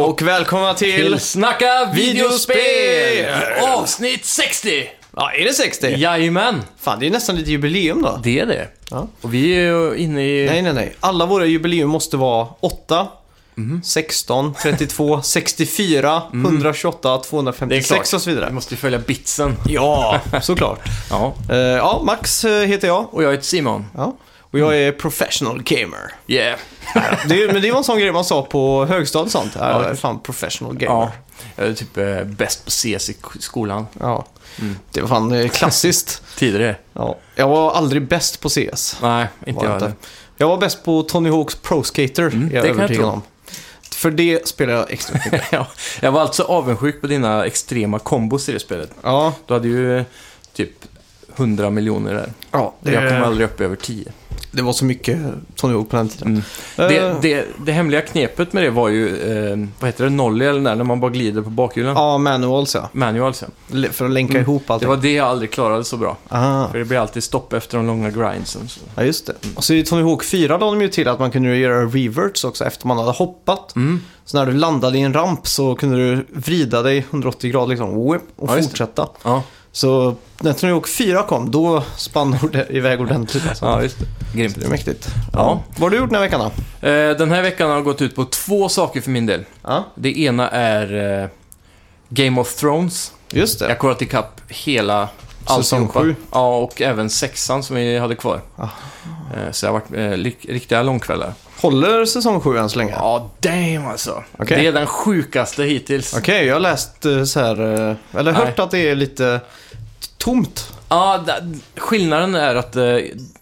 Och välkomna till... Till Snacka videospel! Videospel! Avsnitt 60! Ja, är det 60? Jajamän, Fan, det är nästan lite jubileum då. det är det. Ja. Och vi är ju inne i... Nej, nej, nej. Alla våra jubileum måste vara 8, Mhm. 16, 32, 64, 128, Mm. det är klart. 256 och så Vi vidare. måste ju följa bitsen. Ja, såklart. Ja. Eh, ja, Max eh, heter jag. Och jag heter Simon. Ja. Och jag är professional gamer. Yeah. Det är, men det var en sån grej man sa på högstadiet och sånt. Ja, jag är fan professional gamer. Ja. Ja. Jag är typ eh, bäst på CS i k- skolan. Mm. Det var fan eh, klassiskt. Tidigare. Ja. Jag var aldrig bäst på CS. Nej, inte Var jag, jag. inte. jag var bäst på Tony Hawks Pro Skater, Mm, är jag det kan jag övertygad tro. om. För det spelar jag extra mycket. ja. Jag var alltså avundsjuk på dina extrema kombos i det spelet. ja, Du hade ju eh, typ 100 miljoner där. ja det, Jag kom aldrig upp över 10. Eh, det var så mycket Tony Hawk på den tiden. Mm. Eh, Det, det, det hemliga knepet med det var ju, eh, vad heter det, nollie eller när, när man bara glider på bakhjulen. Ja, manuals ja. Manuals ja. L- För att länka Mm. ihop Det allting. var det jag aldrig klarade så bra. Ah, För det blir alltid stopp efter de långa grindsen. Så. ja, just det. Och så i Tony Hawk 4 lade de ju till att man kunde göra reverts också efter man hade hoppat. Mm. Så när du landade i en ramp så kunde du vrida dig 180 grader liksom, whip, och Ja, just det. fortsätta. Ja. Så när Tony Hawk 4 kom, då spann orde- iväg ordentligt. Alltså. ja, just det. Grymt. Det är mäktigt. Ja. Vad har du gjort den här veckan då? Eh, den här veckan har gått ut på två saker för min del. Ja, Det ena är eh, Game of Thrones. just det. Jag har kollat ikapp hela Säsong alltihopa. sju. Ja, och även sexan som vi hade kvar. Ah. Eh, så det har varit eh, lik- riktiga långkvällar. Håller säsong 7 än så länge? Ja, damn alltså. Okej. Det är den sjukaste hittills. Okej, jag har läst eh, så här, eh, eller Nej. hört att det är lite t- tomt. Ja, d- skillnaden är att eh,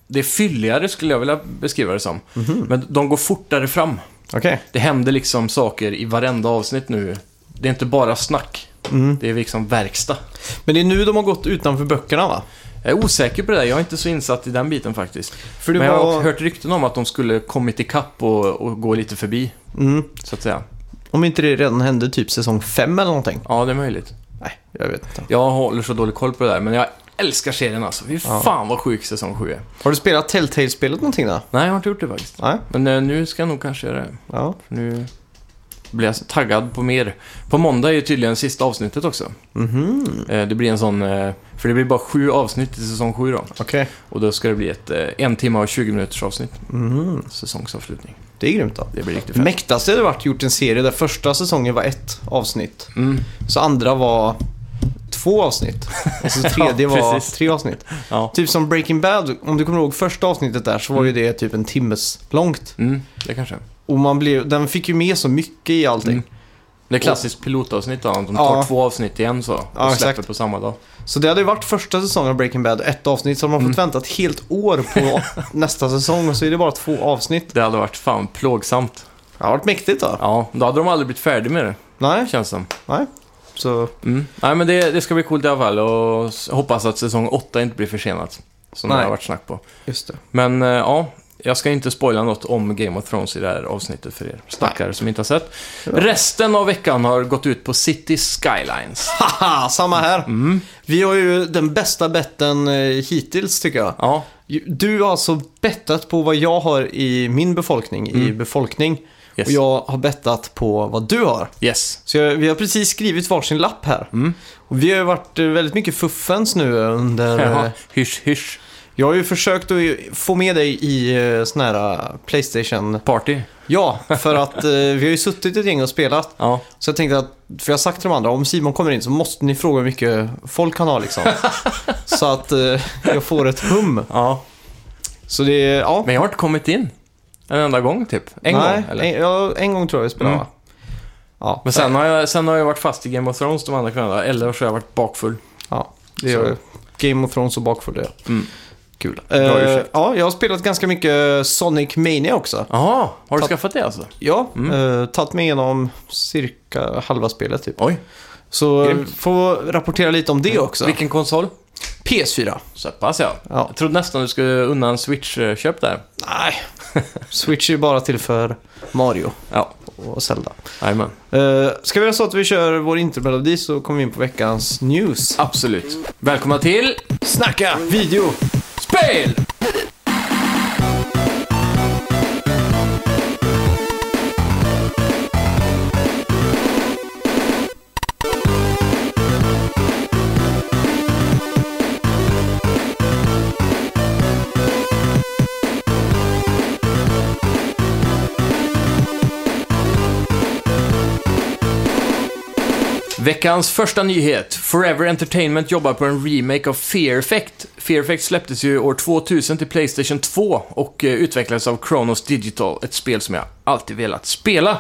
det är fylligare skulle jag vilja beskriva det som. Mhm. Men de går fortare fram. Okej. Det händer liksom saker i varenda avsnitt nu. Det är inte bara snack. Mm. Det är liksom verkstad. Men det är nu de har gått utanför böckerna va? Jag är osäker på det där. Jag är inte så insatt i den biten faktiskt. För det Men jag har var... hört rykten om att de skulle kommit ikapp och, och gå lite förbi, Mm. så att säga. Om inte det redan hände typ säsong 5 eller någonting. Ja, det är möjligt. Nej, jag vet inte. Jag håller så dålig koll på det där, men jag älskar serien alltså. Fy Ja. fan vad sjuk säsong 7 är. Har du spelat Telltale-spelet någonting då? Nej, jag har inte gjort det faktiskt. Nej. Men eh, nu ska jag nog kanske göra det. Ja. Nu blir jag så taggad på mer. På måndag är tydligen sista avsnittet också. Mhm. Eh, Det blir en sån... eh, För det blir bara sju avsnitt i säsong sju då. Okej. Och då ska det bli ett eh, en timme och 20 minuters avsnitt. Mhm. Säsongsavslutning. Det är grymt då. Det blir riktigt Det fett. mäktigaste hade varit gjort en serie där första säsongen var ett avsnitt. Mm. Så andra var två avsnitt. Och så tredje var precis. tre avsnitt. Ja. Typ som Breaking Bad, om du kommer ihåg första avsnittet där så var ju det typ en timmes långt. Mm, det kanske. Och man blev, den fick ju med så mycket i allting. Mm. Det är klassiskt pilotavsnitt då. De tar Ja. två avsnitt i en så. Och Ja, släpper exakt. på samma dag. Så det hade ju varit första säsongen av Breaking Bad, ett avsnitt, så hade man fått Mm. vänta ett helt år på nästa säsong och så är det bara två avsnitt. Det hade varit fan plågsamt. Det har varit mäktigt då. Ja, då hade de aldrig blivit färdiga med det, Nej, känns det som. nej. Så, Mm. Nej, men det, det ska bli coolt i alla fall och s- hoppas att säsong 8 inte blir försenat. Som det Nej. har varit snack på. just det. Men eh, ja, jag ska inte spoila något om Game of Thrones i det här avsnittet för er stackare som inte har sett. Resten av veckan har gått ut på City Skylines. Haha, samma här. Mm. Vi har ju den bästa betten eh, hittills tycker jag. Ja, Du har alltså bettat på vad jag har i min befolkning, i befolkning. Mm. Yes. Och jag har bettat på vad du har. yes. Så jag, vi har precis skrivit varsin lapp här. Mm. Och vi har ju varit eh, väldigt mycket fuffens nu under... eh, Jaha, hysch, hysch. Jag har ju försökt att ju få med dig i eh, sån här eh, Playstation... Party. Ja, för att eh, vi har ju suttit ett gäng och spelat. Ja, Så jag tänkte att, för jag har sagt till de andra, om Simon kommer in så måste ni fråga hur mycket folk han har liksom. så att eh, jag får ett hum. ja. Så det, är- ja. Men jag har inte kommit in en enda gång typ. En Nej, gång eller? En, ja, en gång tror jag vi spelade Mm. va? Ja, Men sen har, jag, sen har jag varit fast i Game of Thrones de andra kvällarna, eller så har jag varit bakfull. ja det är Game of Thrones och bakfull det. Mm. Kul. Bra Eh, ursäkt. ja, jag har spelat ganska mycket Sonic Mania också. Jaha, har du Ta- skaffat det alltså? Ja, eh, tagit mig igenom cirka halva spelet typ. Oj. Så Grymt. Mm. får rapportera lite om det också. Vilken konsol? PS4. Så pass ja. Ja. Jag trodde nästan du skulle unna en Switch-köp där. Nej, Switch är ju bara till för Mario Ja, och Zelda. jajamän. Uh, ska vi göra så att vi kör vår intromelodi så kommer vi in på veckans news. Absolut. Välkomna till Snacka video! spel! Veckans första nyhet. Forever Entertainment jobbar på en remake av Fear Effect. Fear Effect släpptes ju år 2000 till Playstation 2 och eh, utvecklades av Kronos Digital, ett spel som jag alltid velat spela.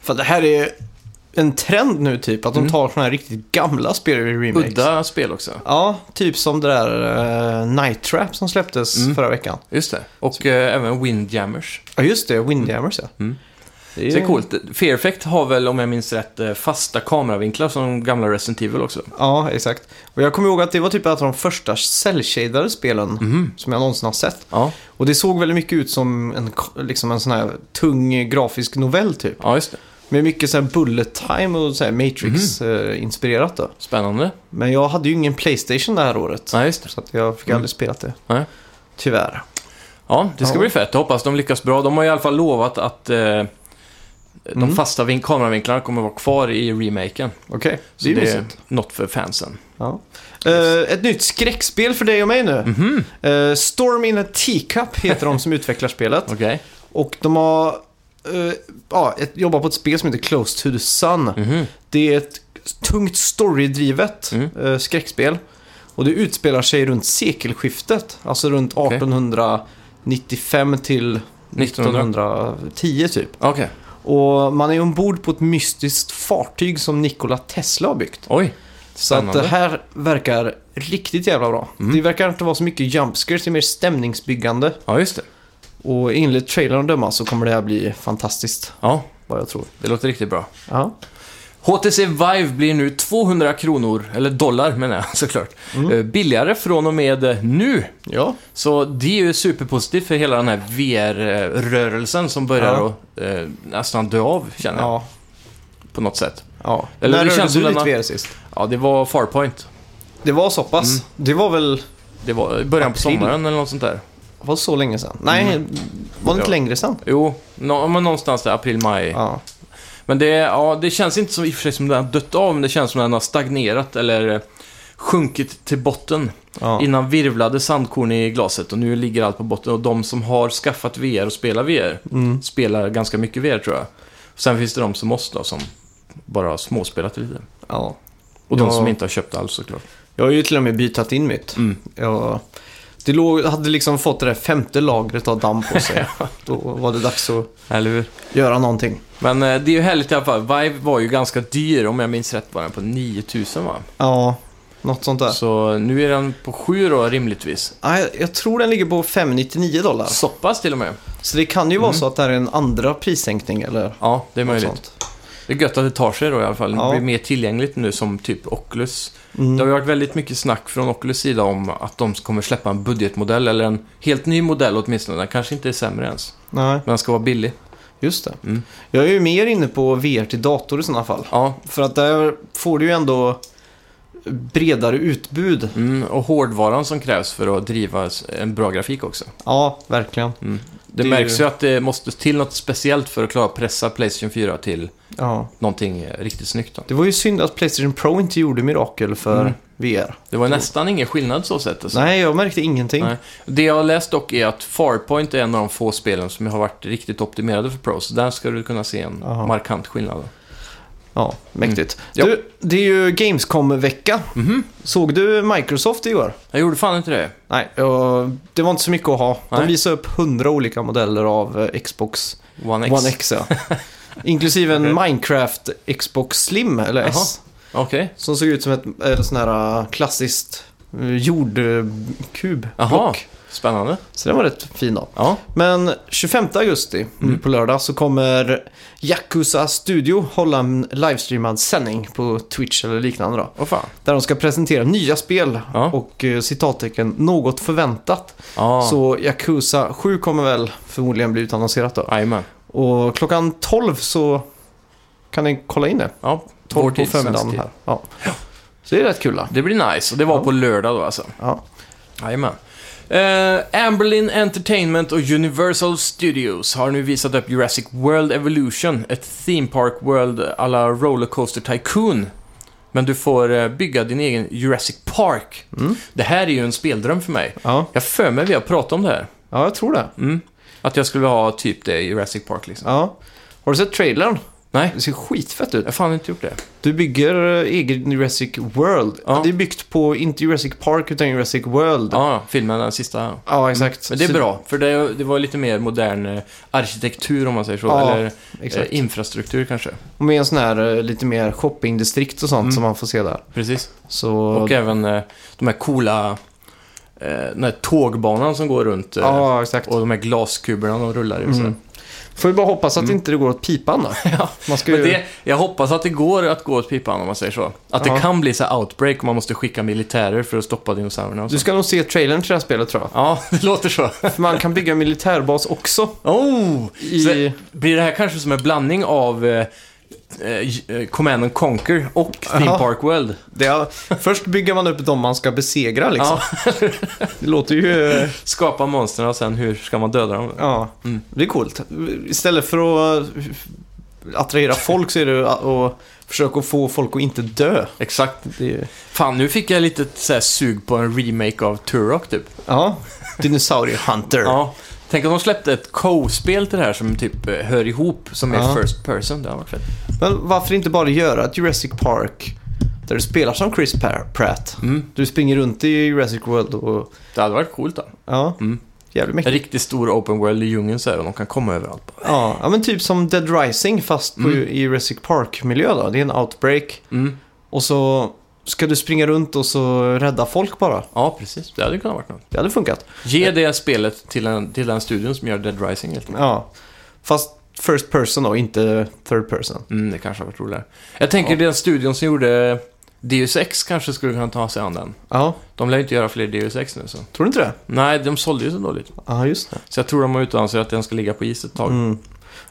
För det här är en trend nu typ, att de tar såna här riktigt gamla spel i remakes. Mm. Udda spel också. Ja, typ som det där eh, Night Trap som släpptes Mm. förra veckan. Just det. Och eh, även Windjammers. Ja, just det. Windjammers, ja. Det är, Så Mm. det är coolt. Fear Effect har väl, om jag minns rätt, eh, fasta kameravinklar som gamla Resident Evil också. Ja, exakt. Och jag kommer ihåg att det var typ ett av de första cell-shadade spelen Mm. som jag någonsin har sett. Ja, Och det såg väldigt mycket ut som en, k- liksom en sån här tung grafisk novell typ. ja just det. Med mycket så här bullet time och så här Matrix-inspirerat Mm. då. Spännande. Men jag hade ju ingen Playstation det här året. Ja, just det. Så att jag fick aldrig spelat det. Mm. Nej. Tyvärr. Ja, det ska Ja. bli fett. Jag hoppas de lyckas bra. De har i alla fall lovat att eh, de Mm. fasta vin- kameravinklarna kommer vara kvar i remaken. Okej, Så det är ju det är mysigt. något för fansen. Ja. Eh, ett nytt skräckspel för dig och mig Mm. nu. Eh, Storm in a Teacup heter de som utvecklar spelet. Okej. Och de har eh, ja, ett, jobbar på ett spel som heter Close to the Sun. Mhm. Det är ett tungt storydrivet Mm. eh, skräckspel. Och det utspelar sig runt sekelskiftet. Alltså runt 1895 till 1910 typ. Okej. Och man är ombord på ett mystiskt fartyg som Nikola Tesla har byggt. Oj. Så att Spännande. Mm. det här verkar riktigt jävla bra. Det verkar inte vara så mycket jumpscares, det är mer stämningsbyggande. Ja, just det. Och enligt trailern att döma så kommer det här bli fantastiskt, Ja, vad jag tror. det låter riktigt bra. Ja, HTC Vive blir nu 200 kronor, eller dollar menar jag såklart, Mm. eh, billigare från och med eh, nu. ja. Så det är ju superpositivt för hela den här VR-rörelsen som börjar Ja. att eh, nästan dö av, känner jag, ja. på något sätt. ja. Eller När det rörde känns du som ditt denna- VR sist? Ja, det var Farpoint. Det var så pass. Mm. Det var väl, Det var i början på April. sommaren eller något sånt där. var så länge sedan? Nej, var det inte Mm. Ja. längre sedan? Jo, nå- men någonstans där, april, maj. Ja. Men det, ja, det känns inte som, i och för sig som den har dött av, men det känns som den har stagnerat eller eh, sjunkit till botten. Ja. Innan virvlade sandkorn i glaset och nu ligger allt på botten. Och de som har skaffat VR och spelar VR Mm. spelar ganska mycket VR tror jag. Sen finns det de som måste då, som bara har småspelat lite. ja. Och de Ja. som inte har köpt alls såklart. Jag har ju till och med bytat in mitt. Mm. Jag, det låg, hade liksom fått det där femte lagret av damm på sig. Då var det dags att Eller hur? göra någonting. Men eh, det är ju härligt i alla fall. Vive var ju ganska dyr, om jag minns rätt var den på 9000 va? Ja, något sånt där. Så nu är den på 7 då rimligtvis. Nej, jag tror den ligger på 599 dollar. Så pass till och med. Så det kan ju vara så att det här är en andra prissänkning eller Ja, det är Mm. något möjligt. sånt. Det är gött att det tar sig då i alla fall. Ja. Mm. Det blir mer tillgängligt nu som typ Oculus. Det har ju varit väldigt mycket snack från Oculus sida om att de kommer släppa en budgetmodell eller en helt ny modell åtminstone. Den kanske inte är sämre ens. Nej, Men den ska vara billig. just det. Mm. Jag är ju mer inne på VR till dator i sådana fall. Ja, För att där får du ju ändå bredare utbud. mm, och hårdvaran som krävs för att driva s- en bra grafik också. Ja, verkligen. Det, Det är märks ju- ju att det måste till något speciellt för att klara att pressa Playstation 4 till Ja. någonting eh, riktigt snyggt. Då. Det var ju synd att Playstation Pro inte gjorde mirakel för Mm. VR. Det var nästan ingen skillnad så sett. Alltså. Nej, jag märkte ingenting. Nej. Det jag har läst dock är att Farpoint är en av de få spelen som har varit riktigt optimerade för Pro, så där ska du kunna se en Aha. markant skillnad. Ja, mäktigt. Mm. Ja. Mhm. Du, det är ju Gamescom-vecka. Såg du Microsoft igår? Jag gjorde fan inte det. Nej, jag- det var inte så mycket att ha. De Nej. visade upp hundra olika modeller av eh, Xbox One X. One X. Ja. Inklusive en Minecraft Xbox Slim, eller Jaha. S. Okej. Som såg ut som ett eh, sån här eh, klassiskt eh, jordkub. Jaha. Spännande. Så den var rätt fin då. Ja. Men 25 Mm. augusti, nu på lördag, så kommer Yakuza Studio hålla en livestreamad sändning på Twitch eller liknande då. Åh fan. Där de ska presentera nya spel Ja. och eh, citattecken något förväntat. Ja. Så Yakuza 7 kommer väl förmodligen bli utannonserat då. Jajamän. Och klockan 12 så kan ni kolla in det. Ja. 12 Vår på tid, svensk förmiddagen tid. här. Ja. Så det är rätt kul. Då. Det blir nice. Och det var Ja. på lördag då alltså. Ja. Jajamän. Eh, Amberlin Entertainment och Universal Studios har nu visat upp Jurassic World Evolution, ett Theme Park World alla Rollercoaster Tycoon. Men du får eh, bygga din egen Jurassic Park. Mm. Det här är ju en speldröm för mig. Ja. Jag för mig vi har pratat om det här. ja, jag tror det. Att jag skulle ha typ det i Jurassic Park liksom. Ja. Har du sett trailern? Nej. Det ser skitfett ut. Jag har fan inte gjort det. Du bygger eh, egen Jurassic World. Ja. Det är byggt på, inte Jurassic Park, utan Jurassic World. Ja, ja, filmen den sista. Ja, exakt. Men det är Så- bra, för det, det var lite mer modern eh, arkitektur om man säger så. Ja, eller Exakt. eh, infrastruktur kanske. Och med en sån här eh, lite mer shoppingdistrikt och sånt Mm. som man får se där. Precis. Så... Och även eh, de här coola, eh, den här tågbanan som går runt. eh, Ja, exakt. Och de här glaskuberna de rullar i. och Mm. sådär. Får vi bara hoppas att inte det går åt pipan då. Mm. Ja, Man ska Men ju... det, jag hoppas att det går att gå åt pipan om man säger så. Att det Ja. kan bli så här outbreak och man måste skicka militärer för att stoppa dinosaurierna och så. Du ska nog se trailern till det här spelet tror jag. Ja, det låter så. För man kan bygga en militärbas också. Oh! I... Så- Blir det här kanske som en blandning av eh, eh, Command and Conquer och Theme Jaha. Park World? Det är... Först bygger man upp de man ska besegra liksom. Ja, Det låter ju... eh, skapa monstren och sen hur ska man döda dem? Ja, Mm. det är coolt. Istället för att eh, attrahera folk så är det att- att försöka få folk att inte dö. Exakt. Det är... Fan, nu fick jag lite så här, sug på en remake av Turok typ. Ja, Dinosaurie Hunter. Ja. Tänk om de släppte ett co-spel till det här som typ eh, hör ihop, som är Ja. first person. Det hade varit fett. Men varför inte bara göra ett Jurassic Park där du spelar som Chris Par- Pratt? Mm. Du springer runt i Jurassic World och... Det hade varit coolt då. Ja, Mm. jävligt En mäktigt. riktigt stor open world i djungeln så här, och de kan komma överallt. Ja. ja, men typ som Dead Rising fast på Mm. i Jurassic Park-miljö då. Det är en outbreak Mm. och så ska du springa runt och så rädda folk bara. Ja, precis. Det hade kunnat varit något. Det hade funkat. Ge det spelet till, en, till den studion som gör Dead Rising helt enkelt. Ja, fast first person då, inte third person. Mm, det kanske hade varit roligare. Jag tänker Ja. den studion som gjorde Deus Ex kanske skulle kunna ta sig an den. Ja, De lär ju inte göra fler Deus Ex nu så. tror du inte det? Nej, de sålde ju så dåligt. Ja, just det. Så jag tror de har utannonserat att den ska ligga på is ett tag. Mm.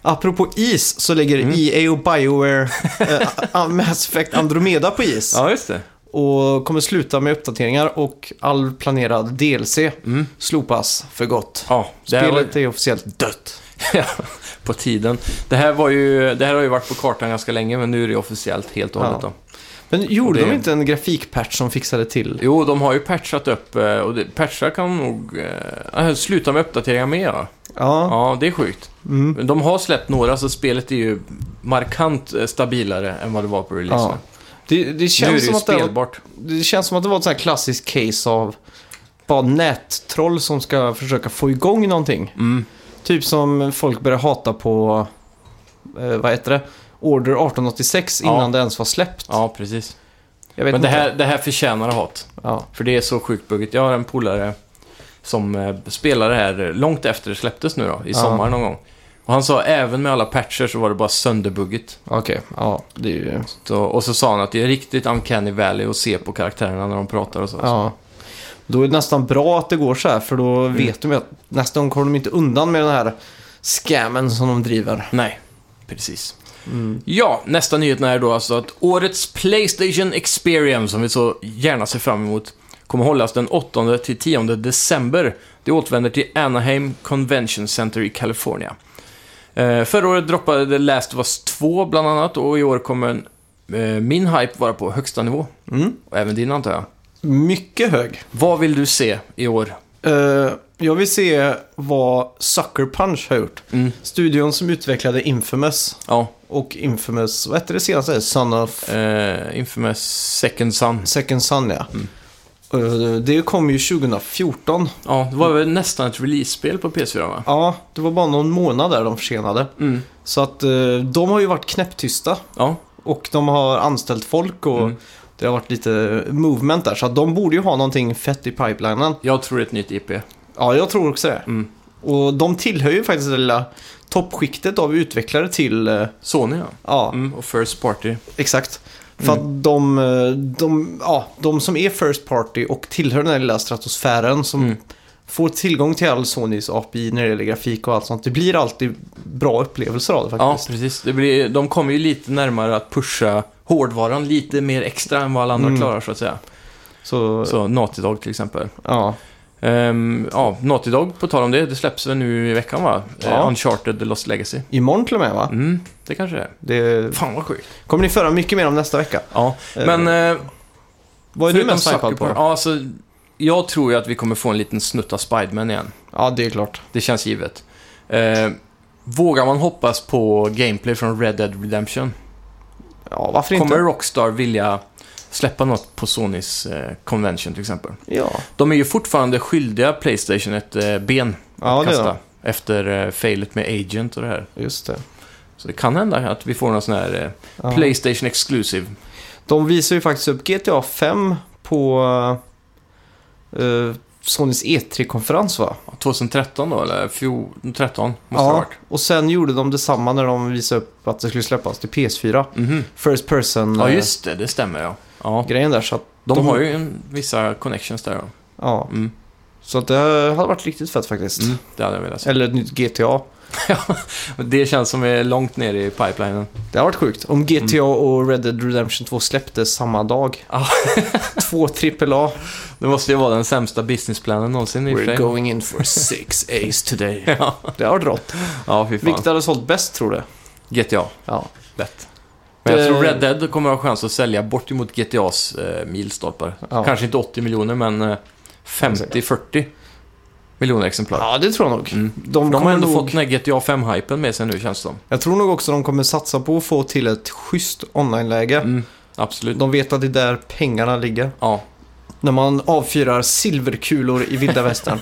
Apropå is så lägger Mm. EA och Bioware eh, Mass Effect Andromeda på is. Ja, just det. Och kommer sluta med uppdateringar och all planerad DLC Mm. slopas för gott. Ja, det här var, Spelet är officiellt dött. på tiden. Det här, var ju, det här har ju varit på kartan ganska länge, men nu är det officiellt helt och Ja. hållet. Då. Men gjorde Och det- de inte en grafikpatch som fixade till? Jo, de har ju patchat upp eh, och det, patchar kan nog eh, äh, sluta med uppdateringar med. Ja. Ja. ja, det är sjukt. Mm. Men De har släppt några, så spelet är ju markant eh, stabilare än vad det var på releasen. Ja. Det, det, liksom. Nu är det känns ju som att det, var, spelbart. det känns som att det var ett sånt här klassiskt case av bara nättroll som ska försöka få igång någonting. Mm. Typ som folk började hata på, eh, vad heter det? Order 1886 Ja. innan det ens var släppt. Ja, precis. Jag vet Men det inte. här, det här förtjänar hat, Ja. för det är så sjukt buggigt. Jag har en polare som eh, spelar det här eh, långt efter det släpptes nu då, i Ja. sommar någon gång. Och han sa även med alla patcher så var det bara sönderbuggigt. Okej, ja. Det är ju... Så, och så sa han att det är riktigt uncanny valley att se på karaktärerna när de pratar och så. Ja. Då är det nästan bra att det går så här för då Mm. vet de ju att nästa gång kommer de inte undan med den här scammen som de driver. Nej, precis. Ja, nästa nyhet är då alltså att årets Playstation Experience, som vi så gärna ser fram emot, kommer hållas den 8 till 10 december. Det återvänder till Anaheim Convention Center i Kalifornien. Eh, förra året droppade The Last of Us 2 bland annat och i år kommer en, eh, min hype vara på högsta nivå. Mm. Och även din antar jag. Mycket hög. Vad vill du se i år? Eh, jag vill se vad Sucker Punch har gjort. Mm. Studion som utvecklade Infamous Ja, och Infamous, vad hette det senaste? Son of eh, Infamous Second Son. Second Son ja. Mm. Eh, det kom ju 2014. Ja, det var väl nästan ett release-spel på PS4 va? Ja, det var bara någon månad där de försenade. Mm. Så att eh, de har ju varit knäpptysta Ja, och de har anställt folk och Mm. det har varit lite movement där. Så att de borde ju ha någonting fett i pipelinen. jag tror det är ett nytt IP. Ja, jag tror också det. Mm. Och de tillhör ju faktiskt det lilla toppskiktet av utvecklare till, eh, Sony ja. ja, Mm, och First Party. exakt. För Mm. att de, eh, de, ja, de som är First Party och tillhör den här lilla stratosfären som Mm. får tillgång till all Sonys API när det gäller grafik och allt sånt. Det blir alltid bra upplevelser av det Ja, faktiskt. precis. Det blir, de kommer ju lite närmare att pusha hårdvaran lite mer extra än vad alla andra Mm. klarar så att säga. Så, Så Naughty Dog till exempel. ja. Ehm, ja, Naughty Dog, på tal om det, det släpps väl nu i veckan va? Ja. Eh, Uncharted The Lost Legacy. Imorgon till och med va? Mm, det kanske det är. Det Fan vad sjukt. kommer ni föra mycket mer om nästa vecka. Ja, men... eh, Vad är du förutom mest Sucker hypad Punch- på? Ja, alltså, jag tror ju att vi kommer få en liten snutt av Spiderman igen. Ja, det är klart. Det känns givet. Eh, Vågar man hoppas på gameplay från Red Dead Redemption? Ja, varför Kommer inte? Rockstar vilja släppa något på Sonys eh, convention till exempel? Ja, De är ju fortfarande skyldiga Playstation ett eh, ben ja att det är kasta. det. Efter eh, failet med Agent och det här. Just det. Så det kan hända att vi får någon sån här eh, Ja. Playstation Exclusive. De visar ju faktiskt upp GTA 5 på eh, Sonys E3-konferens va? 20 2013 då, eller 2013 måste det ja, ha varit. och sen gjorde de detsamma när de visade upp att det skulle släppas till PS4. Mhm. First person Ja, eh, just det. Det stämmer ja. ja. grejen där. Så att, De, de- har ju en, vissa connections där. ja. ja. Mm. så att det hade varit riktigt fett faktiskt. Mm. Det hade jag velat se. Eller ett nytt GTA. Det känns som vi är långt ner i pipelinen. Det hade varit sjukt. Mm. Om GTA och Red Dead Redemption 2 släpptes samma dag. Ja. Två AAA. Det måste ju vara den sämsta businessplanen någonsin i och för sig. We're going in for six A's today. Ja, Det hade varit rått. ja fy fan. Vilket hade sålt bäst tror du? GTA. Ja. Lätt. Men jag Det- tror Red Dead kommer ha chans att sälja bortemot GTAs eh, milstolpar. Ja. Kanske inte 80 miljoner, men eh, 50-40 miljoner exemplar. ja, det tror jag nog. Mm. De De kommer har ändå nog, fått den här GTA 5-hypen med sig nu, känns det som. Jag tror nog också de kommer satsa på att få till ett schysst online-läge. Mm, absolut. De vet att det är där pengarna ligger. Ja, När man avfyrar silverkulor i vilda västern.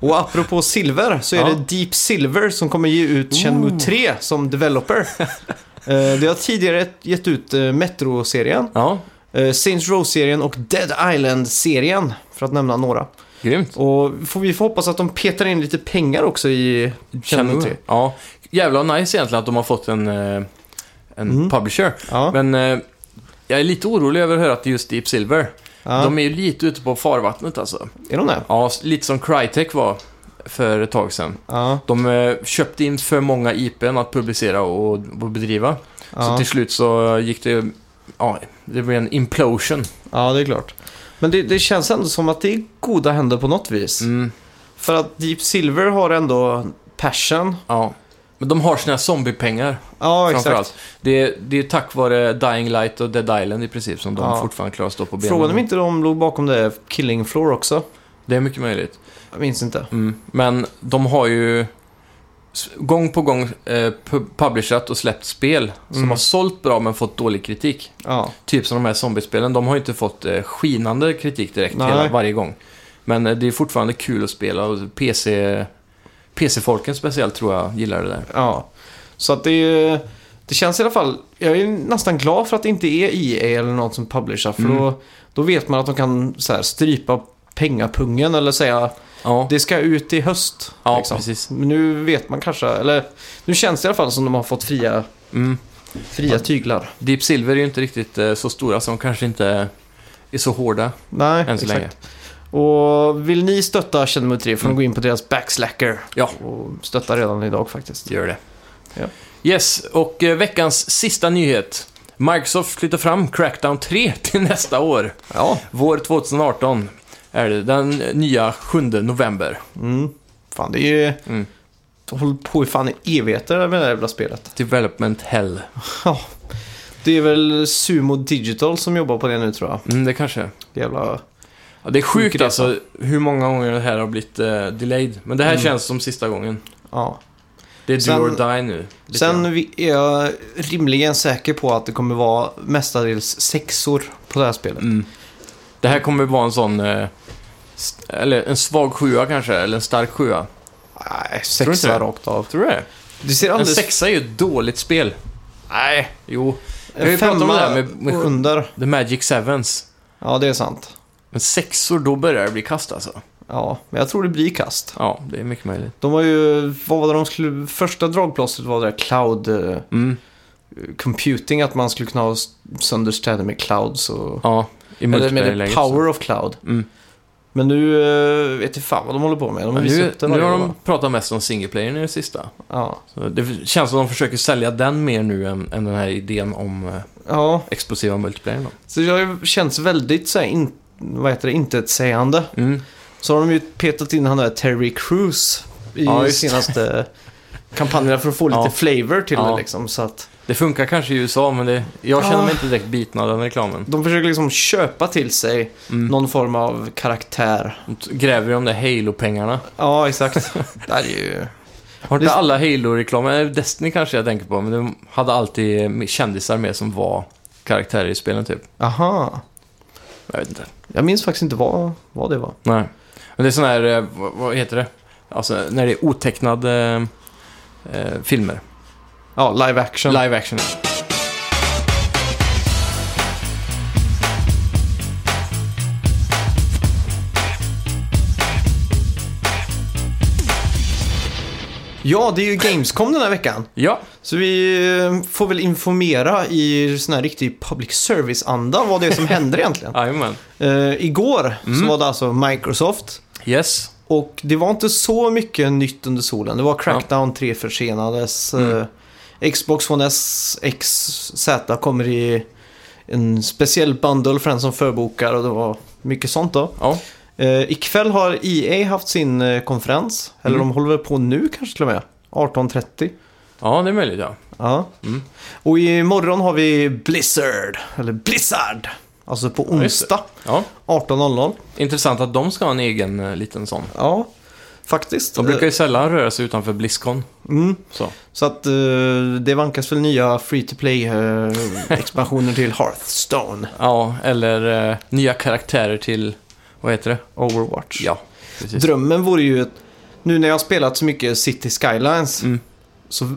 Och apropå silver så är Ja. det Deep Silver som kommer ge ut Ooh. Shenmue 3 som developer. Eh, De har tidigare gett ut eh, Metro-serien, ja eh, Saints Row-serien och Dead Island-serien. För att nämna några. grymt. Och får vi får hoppas att de petar in lite pengar också i Shenmue 3. Ja, jävla nice egentligen att de har fått en, eh, en Mm. publisher. Ja. Men eh, jag är lite orolig över att höra att det är just Deep Silver. ja. De är ju lite ute på farvattnet alltså. Är de det? Ja, lite som Crytek var för ett tag sedan. Ja. De eh, köpte in för många IPn att publicera och, och bedriva. Så Ja. till slut så gick det... Ja, det blev en implosion. ja, det är klart. Men det, det känns ändå som att det är goda händer på något vis. Mm, För att Deep Silver har ändå passion. ja. Men de har sina zombiepengar Ja, exakt. framförallt. Det, det är tack vare Dying Light och Dead Island i princip som de Ja. fortfarande klarar att stå på benen. Frågan är om inte de låg bakom det Killing Floor också. Det är mycket möjligt. Jag minns inte. Mm. Men de har ju s- gång på gång eh, pu- publishat och släppt spel som Mm. har sålt bra men fått dålig kritik. Ja, Typ som de här zombiespelen, de har ju inte fått eh, skinande kritik direkt Nej. hela, varje gång. Men eh, det är fortfarande kul att spela och PC, PC-folken speciellt tror jag gillar det där. ja. Så att det är, Det känns i alla fall... Jag är nästan glad för att det inte är EA eller något som publicerar. För Mm. då, då vet man att de kan så här, strypa pengapungen eller säga Ja, det ska ut i höst. ja liksom. precis. Men nu vet man kanske... Eller nu känns det i alla fall som de har fått fria, Mm. fria tyglar. Deep Silver är ju inte riktigt eh, så stora så de kanske inte är så hårda Nej, än så exakt. länge. Och vill ni stötta Shenmue 3 får ni gå in på deras backslacker. Ja. Och stötta redan idag faktiskt. Gör det. Ja. Yes, och eh, veckans sista nyhet. Microsoft flyttar fram Crackdown 3 till nästa år. Ja. Vår 2018 är det den eh, nya 7 november. Mm. Fan, det är ju... Mm. De håller på i fan i evigheter med det här jävla spelet. Development Hell. Det är väl Sumo Digital som jobbar på det nu tror jag. Mm, det kanske är. Jävla... ja, Det är Sjuk sjukt resa. alltså hur många gånger det här har blivit eh, delayed. Men det här känns som sista gången. Ja. Det är Mm. Sen- do or die nu. lite grann. Sen vi- är jag rimligen säker på att det kommer vara mestadels sexor på det här spelet. Mm. Det här kommer vara en sån... Eh, st- eller en svag sjua kanske, eller en stark sjua. Nej, Tror du inte sexa det? rakt av. Tror du det? Det ser En alldeles... sexa är ju ett dåligt spel. Nej. Jo, En har ju pratat om femma det här med- med- och under. The Magic Sevens. Ja, det är sant. Men sexor, då börjar det bli kast alltså. Ja, men jag tror det blir kast. Ja, det är mycket möjligt. De var ju... Vad var det de skulle... Första dragplåstret var det där cloud... eh, Mm. computing, att man skulle kunna ha s- sönder städer med clouds och... Ja, i Eller med det multiplayer-läget. power of cloud. så. Mm. Men Men nu eh, vet jag fan vad de håller på med. De har visat Nu, upp det nu varje har år, de va? pratat mest om singleplayern i det sista. Ja. Så det känns som att de försöker sälja den mer nu än, än den här idén om eh, ja, explosiva multiplayer. så det har ju känts väldigt så här, in, vad heter det, intetsägande. Mm. Så har de ju petat in han där Terry Crews i Ja, just det. senaste kampanjerna för att få lite Ja. flavor till Ja. det liksom. Så att Det funkar kanske i USA, men det, jag känner Ja. mig inte direkt biten av den reklamen. de försöker liksom köpa till sig Mm. någon form av karaktär. De t- gräver i de där Halo-pengarna. Ja, exakt. det här är ju... Har inte Det- alla Halo-reklamer, Destiny kanske jag tänker på, men de hade alltid eh, kändisar med som var karaktärer i spelen typ. Aha. Jag vet inte. Jag minns faktiskt inte vad, vad det var. Nej. Men det är sån här, eh, vad, vad heter det? Alltså när det är otecknade eh, filmer. Ja, live action. Live action. Ja, det är ju Gamescom den här veckan. Ja, Så vi eh, får väl informera i sån här riktig public service-anda vad det är som händer egentligen. jajamän. Eh, igår så Mm. var det alltså Microsoft. Yes. Och det var inte så mycket nytt under solen. Det var Crackdown 3 försenades. Mm. eh, Xbox One S, X, Z kommer i en speciell bundle för den som förbokar och det var mycket sånt då. Ja. Eh, ikväll har EA haft sin eh, konferens. Eller Mm. de håller väl på nu kanske till och med. 18.30. ja, det är möjligt ja. Ja. Mm. Och imorgon har vi Blizzard. Eller Blizzard. Alltså på Ja, just onsdag ja. 18.00. Intressant att de ska ha en egen eh, liten sån. Ja, faktiskt. De brukar ju sällan röra sig utanför Blizzcon. Eh, mm. Så. Så att eh, det vankas väl nya free to play-expansioner till Hearthstone, Ja, eller eh, nya karaktärer till, vad heter det? Overwatch. Ja, precis. Drömmen vore ju, ett- nu när jag har spelat så mycket City Skylines, Mm. så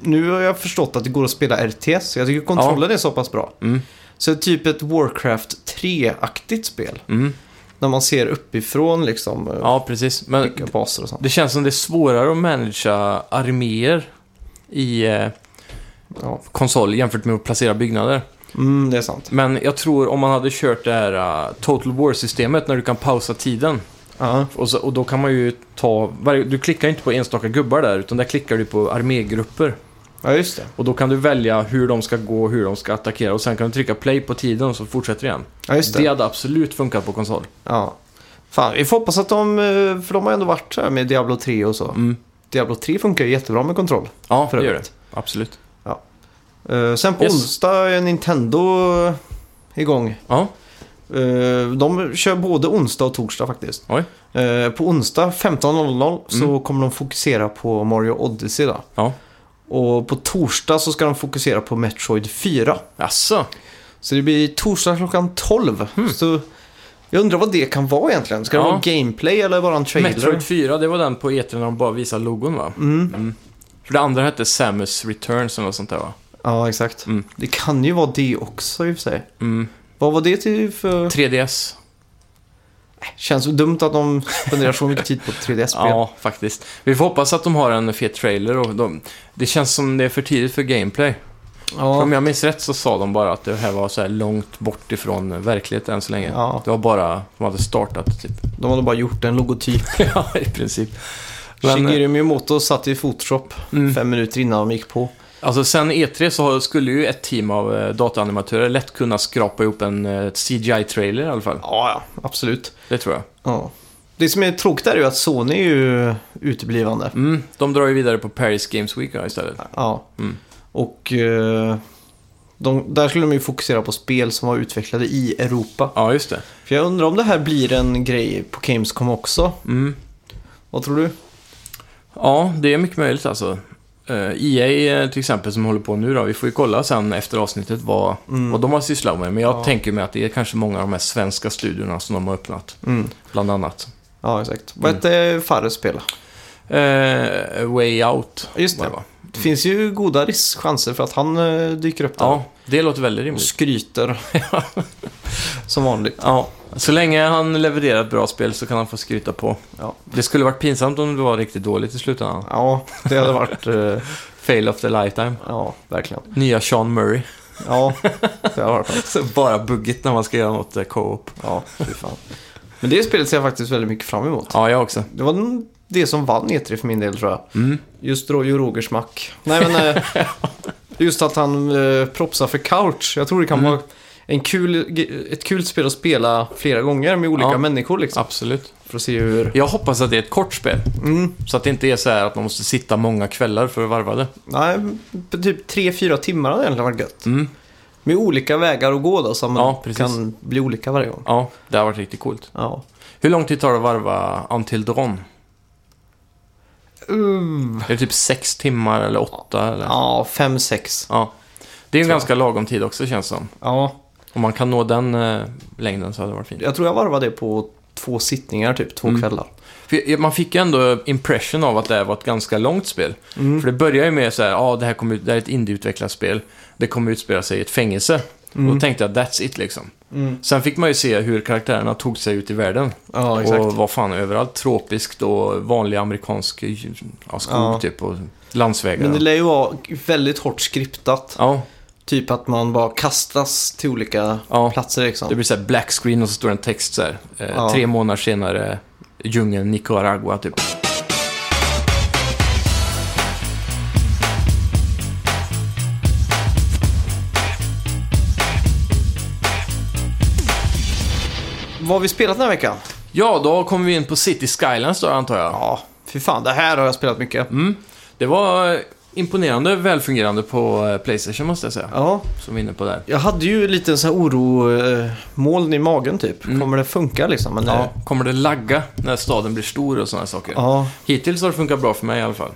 nu har jag förstått att det går att spela RTS. Jag tycker kontrollen är så pass bra. Mm. Så typ ett Warcraft 3-aktigt spel. Mm. När man ser uppifrån liksom, eh, Ja, precis. Men bygga baser och sånt. det känns som det är svårare att managera arméer i eh, Ja. konsol jämfört med att placera byggnader. Mm, det är sant. Men jag tror om man hade kört det här eh, Total War-systemet när du kan pausa tiden. Ja, Och, så, och då kan man ju ta... Varje, du klickar inte på enstaka gubbar där, utan där klickar du på armégrupper. ja just det. Och då kan du välja hur de ska gå, hur de ska attackera och sen kan du trycka play på tiden och så fortsätter det igen. Ja, just det. det. hade absolut funkat på konsol. Ja. Fan, vi får hoppas att de, eh, för de har ändå varit så här med Diablo 3 och så. Mm. Diablo 3 funkar ju jättebra med kontroll. Ja, För det gör det. övrigt. Absolut. Eh, sen på Yes. onsdag är Nintendo eh, igång. Ja, Eh, de kör både onsdag och torsdag faktiskt. Oj. Mm. Eh, på onsdag 15.00 så kommer de fokusera på Mario Odyssey då. Ja. Och på torsdag så ska de fokusera på Metroid 4. Jaså? Så det blir torsdag klockan 12. Så jag undrar vad det kan vara egentligen. Ska det Mm. Ja. vara gameplay eller bara en trailer? Metroid 4, det var den på E3 när de bara visade logon va? Mm. För det andra hette Samus Returns eller något sånt där va? Ja, exakt. Mm. Det kan ju vara det också i och för sig. Mm. Vad var det till för... 3DS. Känns så dumt att de spenderar så mycket tid på 3DS-spel. Ja, faktiskt. Vi får hoppas att de har en fet trailer och de... Det känns som det är för tidigt för gameplay. För ja. Om jag minns rätt så sa de bara att det här var så här långt bort ifrån verkligheten än så länge. Ja. Det var bara... De hade startat typ. De hade bara gjort en logotyp. ja, i princip. Men, eh, Shigeru Miyamoto satt i Photoshop Mm. fem minuter innan de gick på. Alltså sen E3 så har- skulle ju ett team av eh, dataanimatörer lätt kunna skrapa ihop en eh, CGI-trailer i alla fall. Ja, ja. Absolut. Det tror jag. Ja. Det som är tråkigt är ju att Sony är ju uteblivande. Mm, de drar ju vidare på Paris Games Week ja, istället. Ja. Mm. Och eh, de, där skulle de ju fokusera på spel som var utvecklade i Europa. Ja, just det. För jag undrar om det här blir en grej på Gamescom också. Mm. Vad tror du? Ja, det är mycket möjligt alltså. Eh, EA eh, till exempel som håller på nu då, vi får ju kolla sen efter avsnittet vad, vad de har sysslat med. Men jag Mm. Ja. tänker mig att det är kanske många av de här svenska studiorna som de har öppnat, Mm. bland annat. Ja, exakt. Vad Mm. hette Farres spel? Eh, Way Out. Just var det. Det finns ju goda riskchanser för att han eh, dyker upp där Ja, det låter väldigt och rimligt. skryter. Som vanligt. Ja, så länge han levererar ett bra spel så kan han få skryta på. Ja. Det skulle varit pinsamt om det var riktigt dåligt i slutändan. Ja, det hade varit... eh, Fail of the lifetime. Ja, verkligen. Nya Sean Murray. Ja, det hade varit något. Så Bara buggigt när man ska göra något eh, co-op. Ja, fy fan. Men det spelet ser jag faktiskt väldigt mycket fram emot. Ja, jag också. Det var den- det som vann E3 för min del tror jag. Mm. Just Roy och Rogers mack. Nej men... eh, Just att han eh, propsar för couch. Jag tror det kan Mm. vara en kul, ett kul spel att spela flera gånger med olika Ja. människor liksom. Absolut. För att se hur... Jag hoppas att det är ett kort spel. Mm. Så att det inte är så här att man måste sitta många kvällar för att varva det. Nej, på typ 3-4 timmar hade egentligen varit gött. Mm. Med olika vägar att gå då, så man Ja, precis. kan bli olika varje gång. Ja, det har varit riktigt coolt. Ja. Hur lång tid tar det att varva Until Dawn? Uh, Det är typ sex timmar eller åtta eller... ja, fem, sex. Ja. Det är en Tror jag. ganska lagom tid också känns som. Ja, Om man kan nå den eh, längden så hade det varit fint. jag tror jag varvade det på två sittningar typ, två Mm. kvällar. För jag- Man fick ju ändå impression av att det här var ett ganska långt spel. Mm. För det börjar ju med så här, ja ah, det här kommer ut, det här är ett indieutvecklat spel. Det kommer utspela sig i ett fängelse. Och då tänkte jag, that's it liksom. Mm. Sen fick man ju se hur karaktärerna tog sig ut i världen. Ja, exakt. och var fan överallt tropiskt och vanlig amerikansk eh, ja, skog Ja. typ och landsvägar. Men det lär ju vara väldigt hårt skriptat. Ja, Typ att man bara kastas till olika ja. platser liksom. Det blir så här black screen och så står det en text så här. Eh, Ja. Tre månader senare, djungeln Nicaragua typ. Vad har vi spelat den här veckan? Ja, då kommer vi in på City Skylines då antar jag. Ja, fy fan. Det här har jag spelat mycket. Mm. Det var eh, imponerande välfungerande på eh, Playstation måste jag säga. Ja, Som vi är inne på där. jag hade ju lite så här oromoln i magen typ. Mm. Kommer det funka liksom? Men, eh, Ja, kommer det lagga när staden blir stor och sådana saker? ja, Hittills har det funkat bra för mig i alla fall.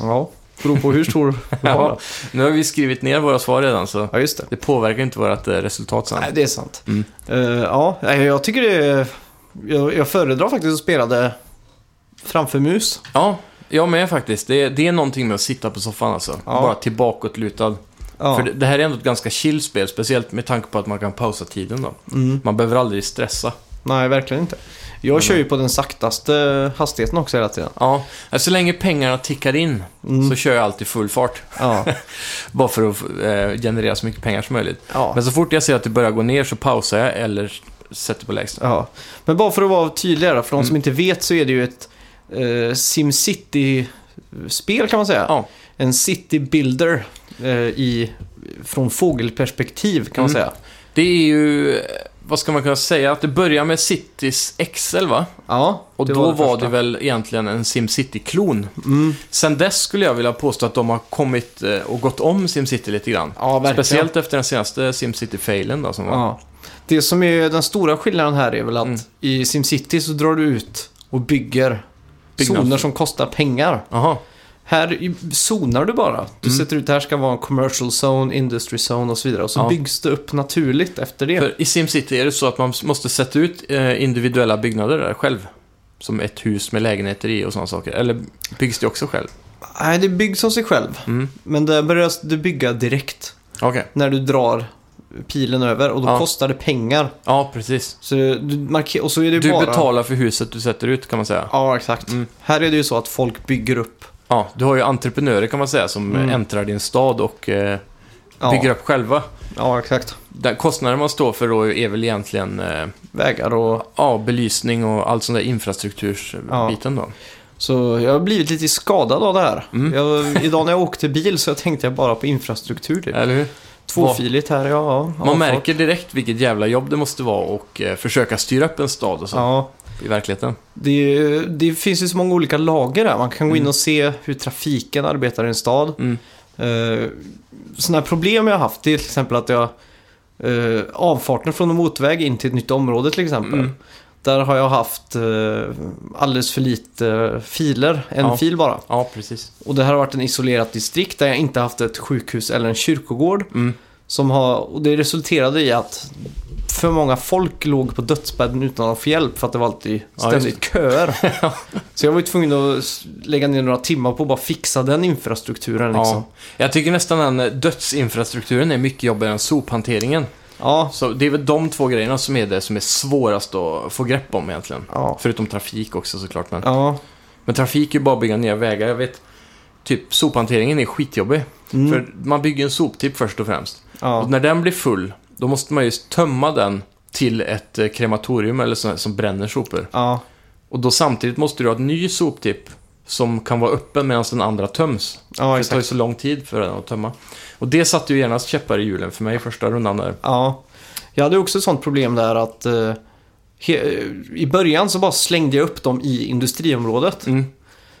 ja. Beror på hur stor Ja, nu har vi skrivit ner våra svar redan så Ja, just det. det påverkar inte vårt eh, resultat sen. Nej, det är sant. Mm. Eh, ja, nej, jag tycker det är... Jag, jag föredrar faktiskt att spela det framför mus. Ja, jag med faktiskt. Det, det är någonting med att sitta på soffan alltså. Ja. Bara tillbakåtlutad. Ja. För det, det här är ändå ett ganska chill spel, speciellt med tanke på att man kan pausa tiden då. Mm. Man behöver aldrig stressa. Nej, verkligen inte. Jag kör ju på den saktaste hastigheten också hela tiden. Ja, så länge pengarna tickar in Mm. så kör jag alltid full fart. Ja, Bara för att eh, generera så mycket pengar som möjligt. ja. Men så fort jag ser att det börjar gå ner så pausar jag eller sätter på lägsta. Ja, men bara för att vara tydligare för de Mm. som inte vet så är det ju ett eh, SimCity-spel kan man säga. Ja. En city builder eh, i, från fågelperspektiv kan man Mm. säga. Det är ju, eh, vad ska man kunna säga, att det börjar med Cities XL va? Ja, Och då var, första. det väl egentligen en SimCity-klon. Mm. Sen dess skulle jag vilja påstå att de har kommit eh, och gått om SimCity lite grann. Ja, verkligen. Speciellt efter den senaste SimCity-failen då som var. Ja. Det som är den stora skillnaden här är väl att Mm. i SimCity så drar du ut och bygger Byggnads- zoner som kostar pengar. Aha. Här i- zonar du bara. Du Mm. sätter ut, det här ska vara en commercial zone, industry zone och så vidare. Och så Ja. byggs det upp naturligt efter det. För i SimCity är det så att man måste sätta ut eh, individuella byggnader där själv. Som ett hus med lägenheter i och sådana saker. Eller byggs det också själv? Nej, det byggs av sig själv. Mm. Men där börjar du bygga direkt Okej. när du drar pilen över och då Ja. kostar det pengar. Ja, precis. Så du marker- och så är det Du bara... betalar för huset du sätter ut kan man säga. Ja, exakt. Mm. Här är det ju så att folk bygger upp. Ja, du har ju entreprenörer kan man säga som Mm. eh, äntrar din stad och eh, Ja, bygger upp själva. ja exakt. Den kostnaden man står för då är väl egentligen eh, Vägar och... ja, belysning och allt sånt där infrastruktursbiten då. Så jag har blivit lite skadad av det här. Mm. Jag, idag när jag åkte bil så tänkte jag bara på infrastruktur. Typ. Eller hur? Tvåfiligt här, ja. Äh, ja Man märker direkt vilket jävla jobb det måste vara och eh, försöka styra upp en stad och så Ja, i verkligheten. Det, det finns ju så många olika lager där. Man kan gå in Mm. och se hur trafiken arbetar i en stad. Mm. Eh, sådana här problem jag har haft det är till exempel att jag eh, avfarten från en motorväg in till ett nytt område till exempel. Mm. Där har jag haft eh, alldeles för lite filer, en Ja. fil bara. Ja, precis. Och det här har varit en isolerat distrikt där jag inte haft ett sjukhus eller en kyrkogård. Mm. Som har, och det resulterade i att för många folk låg på dödsbädden utan att få hjälp för att det var alltid Ja, just ständigt köer. Så jag var ju tvungen att s- lägga ner några timmar på att bara fixa den infrastrukturen liksom. Ja. Jag tycker nästan den eh, dödsinfrastrukturen är mycket jobbigare än sophanteringen. Ja, Så det är väl de två grejerna som är det som är svårast att få grepp om egentligen. ja, Förutom trafik också såklart. Men, ja. men trafik är ju bara att bygga nya vägar. Jag vet, typ sophanteringen är skitjobbig. Mm, För man bygger en soptipp först och främst. ja. Och när den blir full, då måste man ju tömma den till ett eh, krematorium eller sånt som bränner sopor. Ja, Och då samtidigt måste du ha en ny soptipp som kan vara öppen medan den andra töms. ja, det tar ju exakt. så lång tid för den att tömma. Och det satte ju genast käppar i hjulen för mig i första rundan där. Ja. Jag hade också ett sånt problem där att eh, he- i början så bara slängde jag upp dem i industriområdet. Mm.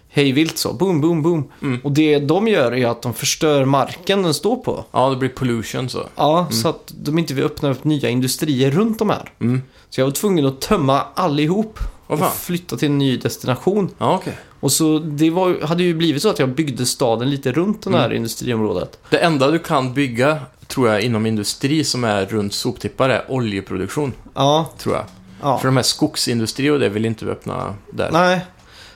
hej vilt så. Boom, boom, boom. Mm. Och det de gör är att de förstör marken den står på. Ja, det blir pollution så. Ja, så att de inte vill öppna upp nya industrier runt de här. Mm. Så jag var tvungen att tömma allihop Vad och fan? flytta till en ny destination. Ja, okej. Och så det var, hade ju blivit så att jag byggde staden lite runt det här Mm. industriområdet. Det enda du kan bygga, tror jag, inom industri som är runt soptippar är oljeproduktion, Ja, tror jag. ja. För de här skogsindustri och det vill inte öppna där. Nej.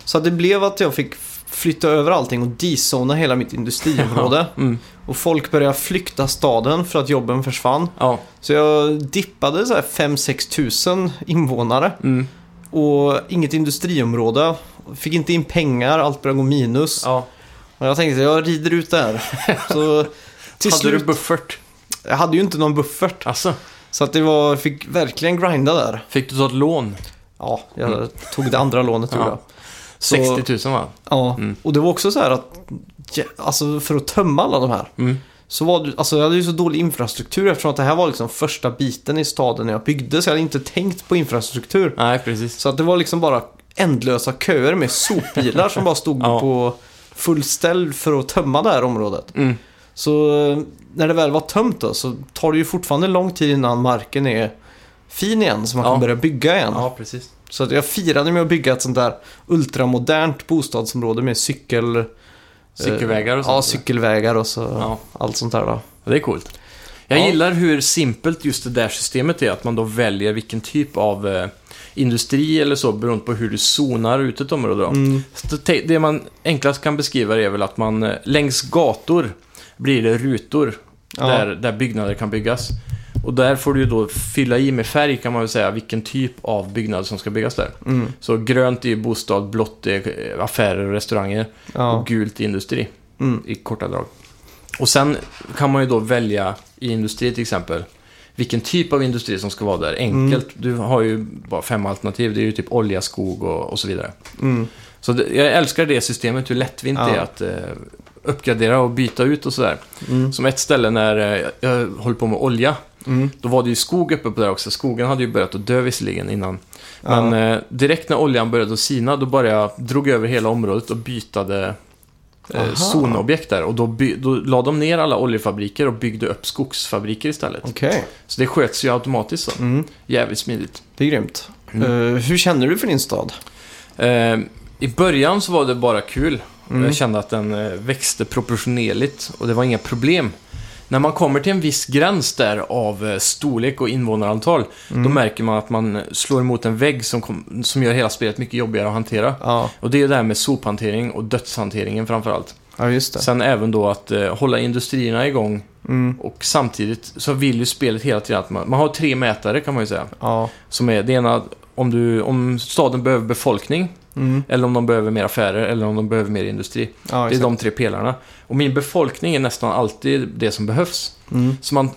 Så att det blev att jag fick flytta över allting och dezona hela mitt industriområde. Mm. Och folk började flykta staden för att jobben försvann. Ja. Så jag dippade så här 5-6 tusen invånare Mm. och inget industriområde. Fick inte in pengar, allt började gå minus. ja. Och jag tänkte jag rider ut det här. Så till Hade slut, du buffert? jag hade ju inte någon buffert. Alltså, Så att det var, fick verkligen grinda där. fick du ta ett lån? Ja, jag tog det andra lånet tror Mm. Ja. jag. Så- 60 000 va? Ja, Mm. och det var också så här att ja, alltså för att tömma alla de här Mm. så var det, alltså jag hade ju så dålig infrastruktur eftersom att det här var liksom första biten i staden när jag byggde så jag hade inte tänkt på infrastruktur. Nej, precis. Så att det var liksom bara ändlösa köer med sopbilar som bara stod Ja. på full ställ för att tömma det här området. Mm. Så eh, när det väl var tömt då så tar det ju fortfarande lång tid innan marken är fin igen så man Ja. kan börja bygga igen. Ja, precis. Så att jag firade med att bygga ett sånt där ultramodernt bostadsområde med cykel... eh, Cykelvägar och Ja, sånt. cykelvägar och så Ja. allt sånt där då. Det är coolt. Jag Ja. gillar hur simpelt just det där systemet är, att man då väljer vilken typ av eh, industri eller så beroende på hur du zonar ut ett område. Då. Mm. Så te- Det man enklast kan beskriva är väl att man eh, längs gator blir det rutor Ja. där, där byggnader kan byggas. Och där får du ju då fylla i med färg kan man väl säga vilken typ av byggnad som ska byggas där. Mm. Så grönt är ju bostad, blått är eh, affärer och restauranger Ja. och gult är industri Mm. i korta drag. Och sen kan man ju då välja i industri till exempel vilken typ av industri som ska vara där. Mm. Enkelt, du har ju bara fem alternativ. Det är ju typ olja, skog och, och så vidare. Mm. Så det, jag älskar det systemet, hur lättvindigt Ja. det är att eh, uppgradera och byta ut och sådär. Mm. Som ett ställe när eh, jag, jag höll på med olja, Mm. då var det ju skog uppe på det också. Skogen hade ju börjat att dö visserligen innan. Ja. Men eh, direkt när oljan började att sina, då började jag drog över hela området och bytade eh, Aha. zonobjekt där. Och då, by- då la de ner alla oljefabriker och byggde upp skogsfabriker istället. Okej, Så det sköts ju automatiskt så. mm. Jävligt smidigt. det är grymt. Mm. Eh, hur känner du för din stad? Eh, I början så var det bara kul. Mm. Jag kände att den eh, växte proportionerligt och det var inga problem. När man kommer till en viss gräns där av eh, storlek och invånarantal, då Mm. märker man att man eh, slår emot en vägg som, kom, som gör hela spelet mycket jobbigare att hantera. Ja, Och det är ju det här med sophantering och dödshanteringen framförallt. ja just det. Sen även då att eh, hålla industrierna igång Mm. och samtidigt så vill ju spelet hela tiden att man, man har tre mätare kan man ju säga. Ja. Som är det ena om, du, om staden behöver befolkning Mm. eller om de behöver mer affärer eller om de behöver mer industri. ja, Det är exakt. de tre pelarna. Och min befolkning är nästan alltid det som behövs. Mm. Så man,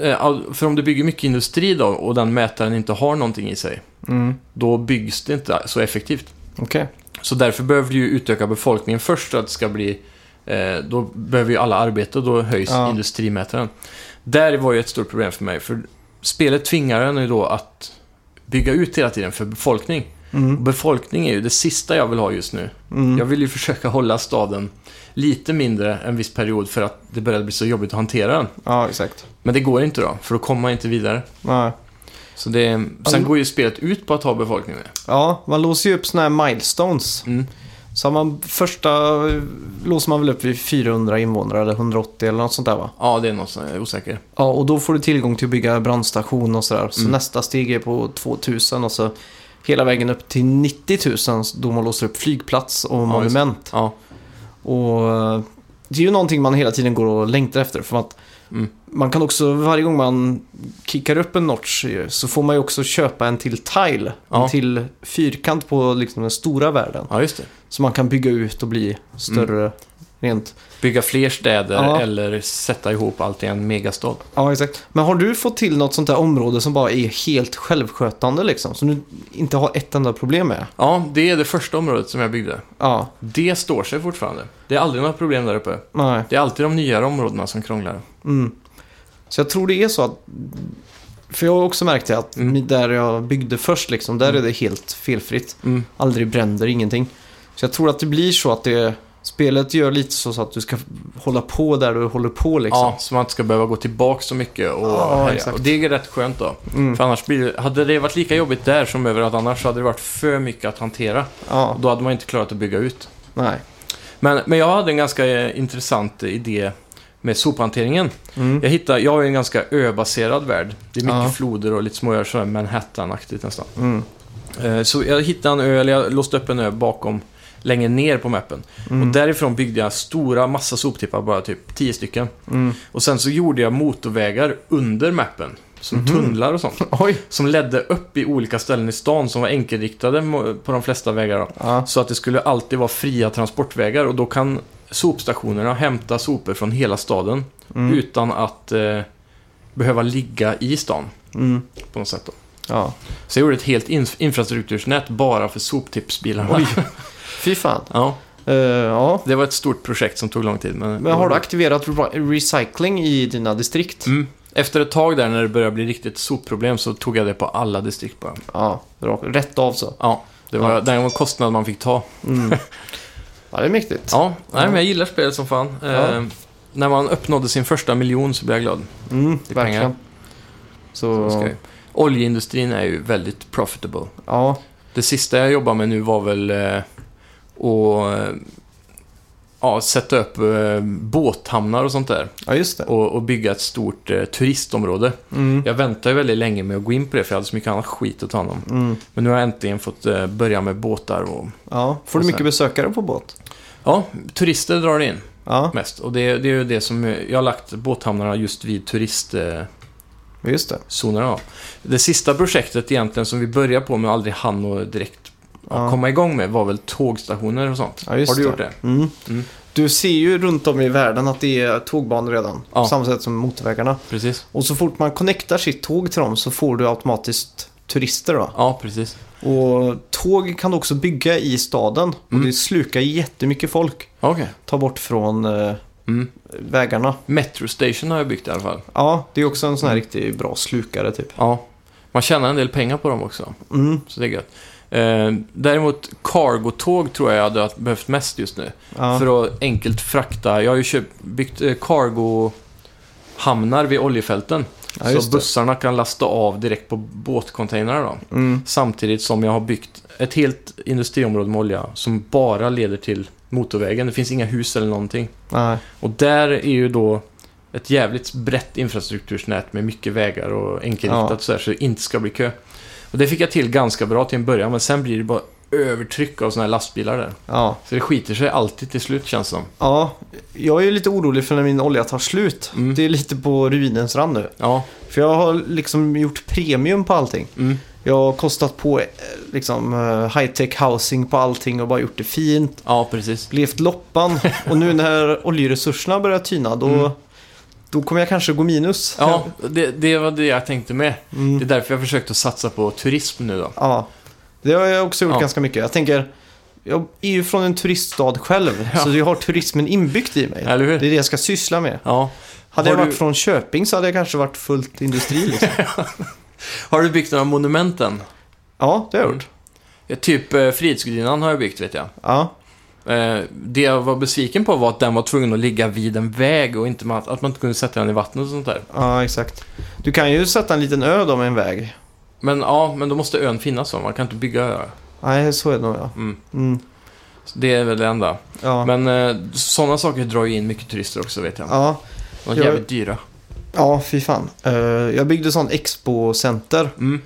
eh, all- för om du bygger mycket industri då och den mätaren inte har någonting i sig, Mm. då byggs det inte så effektivt. Okej, Så därför behöver du ju utöka befolkningen först för att det ska bli... Eh, då behöver ju alla arbeta och då höjs Ja. industrimätaren. Där var ju ett stort problem för mig, för spelet tvingar en ju då att bygga ut hela tiden för befolkning. Och mm. befolkning är ju det sista jag vill ha just nu. Mm. Jag vill ju försöka hålla staden lite mindre en viss period för att det började bli så jobbigt att hantera den. ja exakt. Men det går inte då, för då kommer man inte vidare. Nej. Så det, sen Alltså- går ju spelet ut på att ha befolkningen. Ja, man låser ju upp såna här milestones. Mm. Så har man första eh, låser man väl upp vid 400 invånare eller 180 eller något sånt där va? Ja, det är något som jag är osäker. Ja, och då får du tillgång till att bygga brandstation och sådär. Så Mm. nästa steg är på 2000 och så hela vägen upp till 90 000 då man låser upp flygplats och monument. Ja, Och eh, det är ju någonting man hela tiden går och längtar efter. För att Mm. man kan också, varje gång man kickar upp en notch ju, så får man ju också köpa en till tile. Ja. En till fyrkant på liksom den stora världen. ja just det. Som man kan bygga ut och bli större Mm. rent. Bygga fler städer Ja. eller sätta ihop allt i en megastad. Ja, exakt. Men har du fått till något sånt där område som bara är helt självskötande liksom? Som du inte har ett enda problem med? Ja, det är det första området som jag byggde. Ja, Det står sig fortfarande. Det är aldrig några problem där uppe. nej. Det är alltid de nyare områdena som krånglar. Mm. Så jag tror det är så att... För jag har också märkt det att Mm. där jag byggde först liksom, där är det helt felfritt. Mm. Aldrig bränder, ingenting. Så jag tror att det blir så att det, spelet gör lite så att du ska hålla på där du håller på liksom. Ja, så man inte ska behöva gå tillbaka så mycket. Och, Ja, härja. exakt. och det är rätt skönt då. Mm. För annars blir, det- hade det varit lika jobbigt där som överallt annars så hade det varit för mycket att hantera. Ja, Och då hade man inte klarat att bygga ut. nej. Men, men jag hade en ganska eh, intressant idé med sophanteringen. Mm. Jag hittade, jag har ju en ganska öbaserad värld. Det är mycket Ja. floder och lite småöar sådär Manhattan-aktigt nästan. Mm. Eh, Så jag hittade en ö, eller jag låste upp en ö bakom, längre ner på mappen. Mm. Och därifrån byggde jag stora massa soptippar, bara typ 10 stycken. Mm. Och sen så gjorde jag motorvägar under mappen. Som Mhm. tunnlar och sånt. Oj! Som ledde upp i olika ställen i stan som var enkelriktade mo- på de flesta vägar. Då. Ja. Så att det skulle alltid vara fria transportvägar och då kan sopstationerna hämta sopor från hela staden Mm. utan att eh, behöva ligga i stan Mm. på något sätt. Då. Ja. Så jag gjorde ett helt inf- infrastruktursnät bara för soptippsbilarna. Oj. Fy fan. Ja, Eh, ja. det var ett stort projekt som tog lång tid. Men, Men har du aktiverat re- recycling i dina distrikt? Mm. Efter ett tag där när det började bli riktigt sopproblem så tog jag det på alla distrikt bara. Ja, bra. rätt av så. Ja, det var Ja. den var kostnad man fick ta. Mm. ja, det är mäktigt. Ja, nej, men jag gillar spelet som fan. Ja. Eh, när man uppnådde sin första miljon så blev jag glad. Mm, Det är verkligen. pengar. Så, Skoj. Oljeindustrin är ju väldigt profitable. ja. Det sista jag jobbade med nu var väl eh, att eh, ja, sätta upp eh, båthamnar och sånt där. ja, just det. Och, och bygga ett stort eh, turistområde. Mm. Jag väntade ju väldigt länge med att gå in på det för jag hade så mycket annat skit att ta hand om. Mm. Men nu har jag äntligen fått eh, börja med båtar och... Ja. Får Och sen- du mycket besökare på båt? Ja, turister drar in Ja, mest. Och det, det är ju det som... eh, Jag har lagt båthamnarna just vid eh, turistzonerna. just det. Eh, det sista projektet egentligen som vi började på men aldrig hann och direkt ja. Ja. komma igång med var väl tågstationer och sånt. Ja, just har du det. gjort det? Mm. Mm. Du ser ju runt om i världen att det är tågbanor redan. Ja. På samma sätt som motorvägarna. Precis. Och så fort man connectar sitt tåg till dem så får du automatiskt turister. Då. Ja, precis. Och tåg kan du också bygga i staden. Mm. Och det slukar jättemycket folk. Okej. Ta bort från eh, Mm. vägarna. Metro Station har jag byggt i alla fall. Ja, det är också en sån här Mm. riktigt bra slukare typ. Ja. Man tjänar en del pengar på dem också, Mm. så det är gött. Eh, däremot cargotåg tror jag jag hade behövt mest just nu. Ja. För att enkelt frakta. Jag har ju köpt, byggt eh, cargo-hamnar vid oljefälten. Ja, just så det. bussarna kan lasta av direkt på båtcontainrar. Då. Mm. Samtidigt som jag har byggt ett helt industriområde med olja som bara leder till motorvägen. Det finns inga hus eller någonting. Nej. Och där är ju då ett jävligt brett infrastruktursnät med mycket vägar och enkelriktat Ja. så, här, så det inte ska bli kö. Och det fick jag till ganska bra till en början, men sen blir det bara övertryck av såna här lastbilar där. Ja. Så det skiter sig alltid till slut känns det som. ja, jag är ju lite orolig för när min olja tar slut. Mm. Det är lite på ruinens rand nu. Ja, För jag har liksom gjort premium på allting. mm. Jag har kostat på eh, liksom high tech housing på allting och bara gjort det fint. ja precis. Levt loppan och nu när oljeresurserna börjar tyna då, Mm. då kommer jag kanske gå minus. Ja, det, det var det jag tänkte med. Det Mm. är därför jag försökt att satsa på turism nu då. Ja, det har jag också gjort Ja. ganska mycket. Jag tänker, jag är ju från en turiststad själv, Ja. så jag har turismen inbyggt i mig. Eller hur? Det är det jag ska syssla med. Ja. Hade Har jag du- varit från Köping så hade jag kanske varit fullt industri. Liksom. Har du byggt några monument än? ja, det har jag gjort. Ja, typ eh, Frihetsgudinnan har jag byggt vet jag. Ja, Eh, det jag var besviken på var att den var tvungen att ligga vid en väg och inte ma- att man inte kunde sätta den i vattnet och sånt där. ja, exakt. Du kan ju sätta en liten ö då med en väg. Men ja, men då måste ön finnas så. Man kan inte bygga öar. Nej, så är det nog ja. Mm. Mm. Så det är väl det enda. Ja. Men eh, sådana saker drar ju in mycket turister också vet jag. ja. De är jag- jävligt dyra. ja, fy fan. Eh, jag byggde sån expo-center, Mm.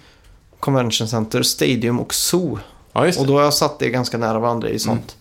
convention center, stadium och zoo. Ja, just Och det. då har jag satt det Mm. ganska nära varandra i sånt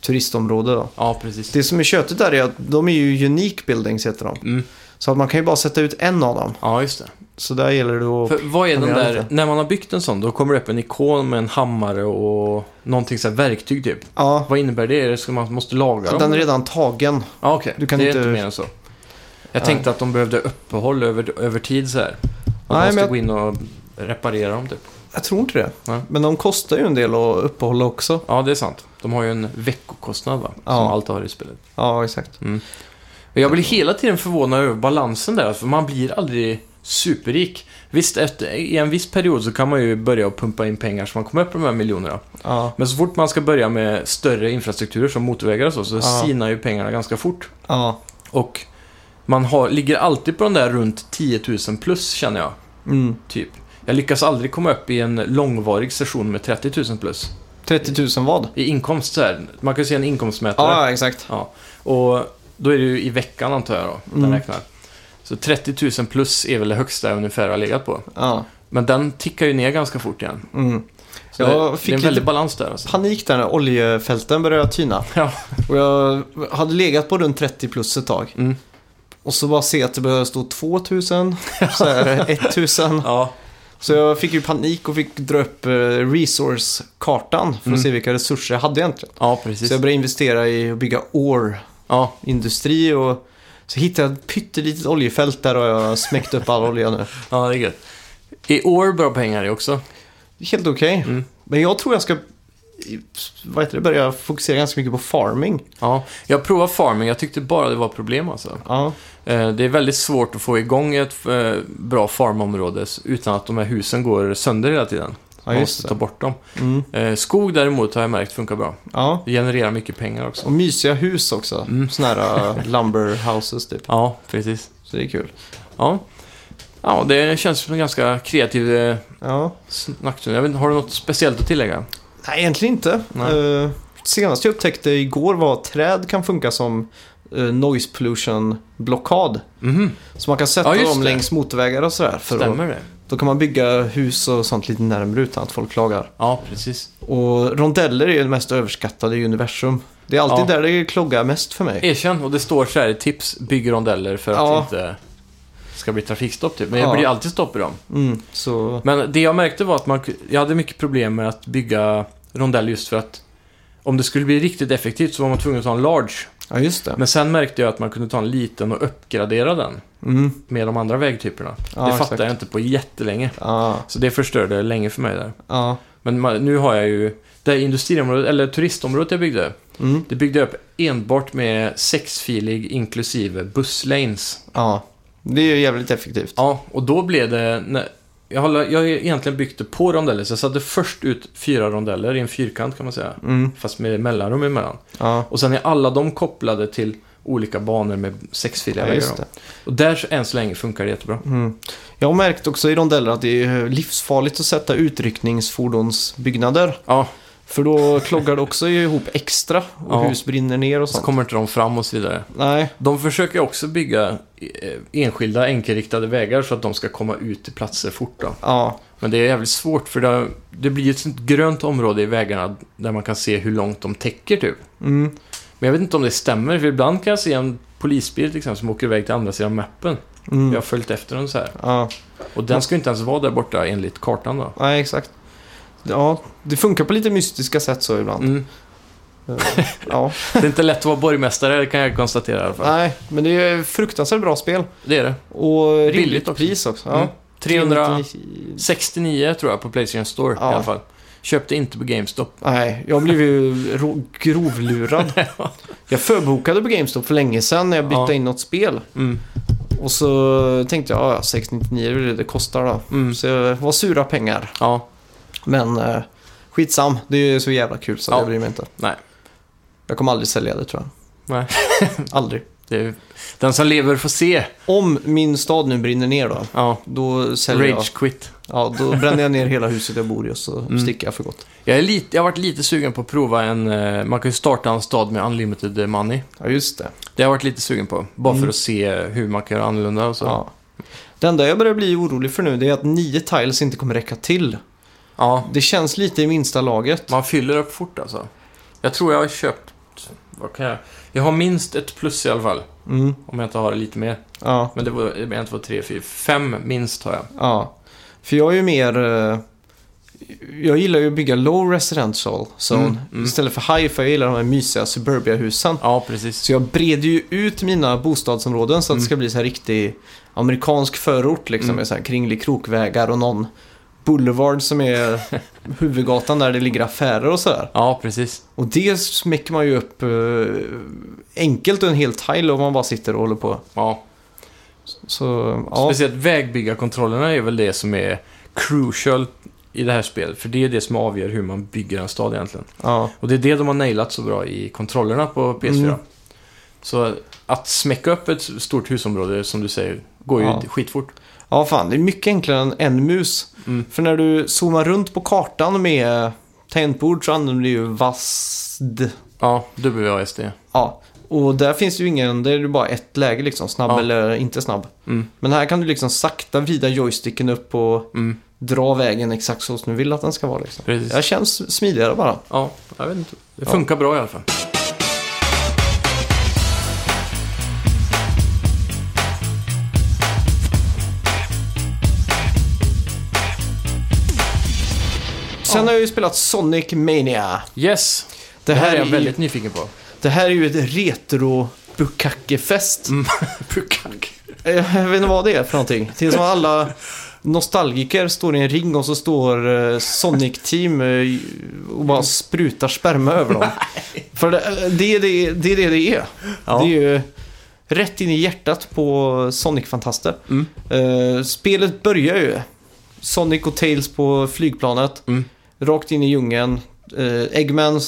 turistområde då. Ja, precis. Det som är tjötigt där är att de är ju unique buildings heter de. Mm. Så att man kan ju bara sätta ut en av dem. Ja, just det. Så där gäller det att... För vad är den Planerar där, lite. när man har byggt en sån, då kommer det upp en ikon med en hammare och någonting så här verktyg typ. Ja, Vad innebär det? Är det? Ska man måste laga dem? den är redan tagen. Ja, okej. Du kan det är inte- inte mer än så. Jag Nej. tänkte att de behövde uppehåll över, över tid så här. Att man Nej, måste men- gå in och reparera dem typ. Jag tror inte det. Nej. Men de kostar ju en del att uppehålla också. Ja, det är sant. De har ju en veckokostnad va? Ja. Som allt har i spelet. Ja, exakt. Men Jag blir hela tiden förvånad över balansen där, för man blir aldrig superrik. Visst, efter, i en viss period så kan man ju börja att pumpa in pengar så man kommer upp på de här miljonerna. Ja. Men så fort man ska börja med större infrastrukturer som motorvägar och så, så Ja. sinar ju pengarna ganska fort. Ja. Och man har, ligger alltid på den där runt 10 000 plus, känner jag. Mm. Typ. Jag lyckas aldrig komma upp i en långvarig session med 30 000 plus. 30 000 vad? I inkomst så här, man kan ju se en inkomstmätare. Ja, exakt. Och då är det ju i veckan antar jag då, den Mm. räknar. Så 30 000 plus är väl det högsta jag ungefär har legat på. Ja. Men den tickar ju ner ganska fort igen. Mm. Så Jag det, fick det är en lite- väldig balans där alltså. Panik där när oljefälten började tyna. Ja. Och jag hade legat på runt 30 plus ett tag. Mm. Och så bara se att det började stå 2000, så här 1000. Ja, Så jag fick ju panik och fick dra upp eh, resource-kartan för att Mm. se vilka resurser jag hade egentligen. ja Så precis. jag började investera i att bygga Ja, ore-industri och så hittade jag ett pyttelitet oljefält där och jag har smäckt upp all olja nu. ja, det är gött. I år bra pengar det också. Helt okej. Mm. Men jag tror jag ska vad heter det, börja fokusera ganska mycket på farming. Ja, jag provade farming, jag tyckte bara det var problem alltså. Ja, Eh, Det är väldigt svårt att få igång ett eh, bra farmområde s- utan att de här husen går sönder hela tiden. ja Man just måste ta det. bort dem. Mm. Eh, Skog däremot har jag märkt funkar bra. Ja. Det genererar mycket pengar också. Och mysiga hus också. Mm. Såna här eh, lumber houses typ. Ja, precis. Så det är kul. Ja. ja, det känns som en ganska kreativ eh, Ja. snackstund. Jag vet, inte, har du något speciellt att tillägga? Nej, egentligen inte. Nej. Eh, senast jag upptäckte igår var att träd kan funka som eh, noise pollution-blockad. Mhm, Så man kan sätta Ja, just dem det. längs motorvägar och sådär. För att, stämmer det? då kan man bygga hus och sånt lite närmare utan att folk klagar. Ja, precis. Och rondeller är ju det mest överskattade i universum. Det är alltid Ja. E- där det kloggar mest för mig. Erkänn, och det står så här i tips, bygg rondeller för att Ja. det inte ska bli trafikstopp typ. Men det Ja. blir alltid stopp i dem. Mm, så... Men det jag märkte var att man, jag hade mycket problem med att bygga rondeller just för att om det skulle bli riktigt effektivt så var man tvungen att ta en large. Ja, just det. Men sen märkte jag att man kunde ta en liten och uppgradera den Mm. med de andra vägtyperna. Ja, det fattade exakt. jag inte på jättelänge. Ja, Så det förstörde länge för mig där. ja. Men man, nu har jag ju... Det här industriområdet, eller turistområdet jag byggde, Mm, det byggde jag upp enbart med sexfilig inklusive busslanes. ja. Det är ju jävligt effektivt. Ja, och då blev det... när- Jag har, jag har egentligen byggt det på rondeller, så jag satte först ut fyra rondeller i en fyrkant kan man säga. Mm, Fast med mellanrum emellan. ja. Och sen är alla de kopplade till olika banor med sexfiliga Ja, vägar. just då. det. Och där än så länge funkar det jättebra. Mm. Jag har märkt också i rondeller att det är livsfarligt att sätta utryckningsfordonsbyggnader. Ja, För då kloggar det också ihop extra och Ja. hus brinner ner och så sånt. kommer inte de fram och så vidare. Nej, De försöker också bygga eh, enskilda enkelriktade vägar så att de ska komma ut till platser fort. Då. ja, Men det är jävligt svårt för det, det blir ett sånt grönt område i vägarna där man kan se hur långt de täcker typ. mm. Men jag vet inte om det stämmer för ibland kan jag se en polisbil till exempel som åker iväg till andra sidan mappen. Mm. Jag Ja. har följt efter den så här. Och den ska ju inte ens vara där borta enligt kartan då. nej exakt. Ja, det funkar på lite mystiska sätt så ibland. Mm. Ja. Det är inte lätt att vara borgmästare, det kan jag konstatera i alla fall. Nej, men det är fruktansvärt bra spel. Det är det. Och rimligt Billigt också. pris också. Mm. Ja. 369 390. tror jag på Playstation Store Ja. i alla fall. Köpte inte på GameStop. Nej, jag blev ju ro- grovlurad. Jag förbokade på GameStop för länge sedan när jag bytte Ja. in något spel. Mm. Och så tänkte jag, ja, 699 är väl det det kostar då. Mm. Så det var sura pengar. Ja, Men eh, skitsam, det är ju så jävla kul så Ja. jag bryr mig inte. Nej. Jag kommer aldrig sälja det tror jag. Nej. aldrig. Det är, den som lever får se. Om min stad nu brinner ner då, Ja, då säljer jag. rage quit. Ja, då bränner jag ner hela huset jag bor i och så Mm. sticker jag för gott. Jag, är lite, jag har varit lite sugen på att prova en... eh, Man kan ju starta en stad med unlimited money. Ja, just det. Det har jag varit lite sugen på. Bara Mm. för att se hur man kan göra annorlunda och så. Ja. Ja. Det enda jag börjar bli orolig för nu det är att nio tiles inte kommer räcka till. Det känns lite i minsta laget. Man fyller upp fort alltså. Jag tror jag har köpt... Vad kan jag... Jag har minst ett plus i alla fall. Mm. Om jag inte har lite mer. Ja, Men det var en, två, tre, fyra, fem minst har jag. ja. För jag är ju mer... eh, Jag gillar ju att bygga low residential zone Mm, mm. istället för high för jag gillar de här mysiga suburbia-husen. Ja, precis. Så jag breder ju ut mina bostadsområden så att det ska bli så här riktig amerikansk förort liksom Mm. med så här kringlig krokvägar och någon boulevard som är huvudgatan där det ligger affärer och sådär. Ja, precis. Och det smäcker man ju upp eh, enkelt och en hel tile om man bara sitter och håller på. Ja. Så, ja. Speciellt vägbyggarkontrollerna är väl det som är crucial i det här spelet. För det är det som avgör hur man bygger en stad egentligen. ja. Och det är det de har nailat så bra i kontrollerna på PS4. Mm. Så att smäcka upp ett stort husområde, som du säger, går ju Ja. skitfort. Ja, fan. Det är mycket enklare än en mus. Mm. För när du zoomar runt på kartan med tangentbord så använder du ju VASD. Ja, WASD. Ja. Och där finns det ju ingen, där är det bara ett läge liksom, snabb Ja. eller inte snabb. Mm. Men här kan du liksom sakta vrida joysticken upp och Mm. dra vägen exakt så som du vill att den ska vara liksom. Precis. Det här känns smidigare bara. Ja, jag vet inte. Det funkar bra i alla fall. Sen har jag ju spelat Sonic Mania. Yes! Det Det här, här är jag är, väldigt nyfiken på. det här är ju ett retro bukackefest. Mm. Pukak. Eh, Jag vet inte vad det är för någonting. Det är som att alla nostalgiker står i en ring och så står eh, Sonic Team eh, och bara sprutar sperma över dem. För det, eh, det, är det, det är det det är. Ja. Det är ju rätt in i hjärtat på Sonic-fantaster. Mm. Eh, spelet börjar ju. Sonic och Tails på flygplanet. Mm. Rakt in i djungeln. Eh, Eggman,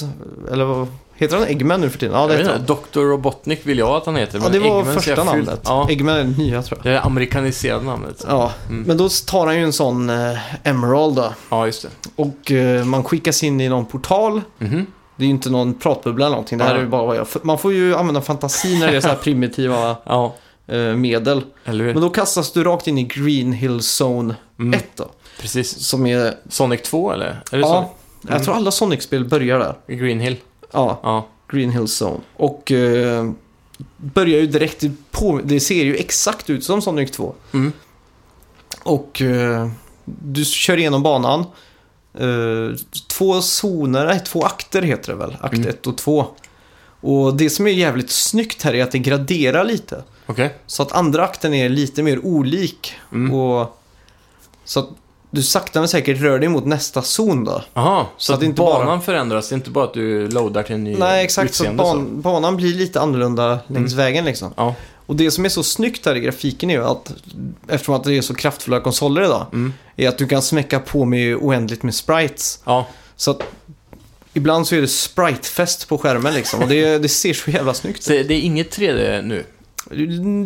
eller vad heter han Eggman nu för tiden? Ja, det Jag vet heter inte, han. Dr. Robotnik vill jag att han heter. Ja, men det var Eggman ser första jag fult. namnet. Ja, Eggman är den nya tror jag. det är det amerikaniserade namnet. Ja, men då tar han ju en sån eh, Emerald då. Ja, just det. Och eh, man skickas in i någon portal. Mhm. Det är ju inte någon pratbubbla eller någonting. Det här Ja. är ju bara vad jag... Man får ju använda fantasi när det är så här primitiva Ja, eh, medel. eller hur? Mm, Men då kastas du rakt in i Green Hill Zone 1 då. Precis. Som Mm. är... Mm. är Sonic 2 eller? Är det ja, jag tror alla Sonic-spel börjar där. så? Green Hill? Ja, Ja. Green Hill Zone. Och eh, börjar ju direkt på... Det ser ju exakt ut som Sonic 2. Mm. Och eh, du kör igenom banan. Eh, två zoner, nej två akter heter det väl. Akt Mm. 1 och 2. Och det som är jävligt snyggt här är att det graderar lite. Okej. Så att andra akten är lite mer olik. Mm. Och, så att du sakta men säkert rör dig mot nästa zon då. Jaha, så, Så att att inte banan bara- förändras? Det är inte bara att du loadar till en ny Nej exakt, så att utseende? Mm. ban, banan blir lite annorlunda längs vägen liksom. Ja. Och det som är så snyggt här i grafiken är ju att, eftersom att det är så kraftfulla konsoler idag, Mm. är att du kan smäcka på med oändligt med sprites. Ja, Så att ibland så är det spritefest på skärmen liksom. Och det, det ser så jävla snyggt så ut. det är inget 3D nu?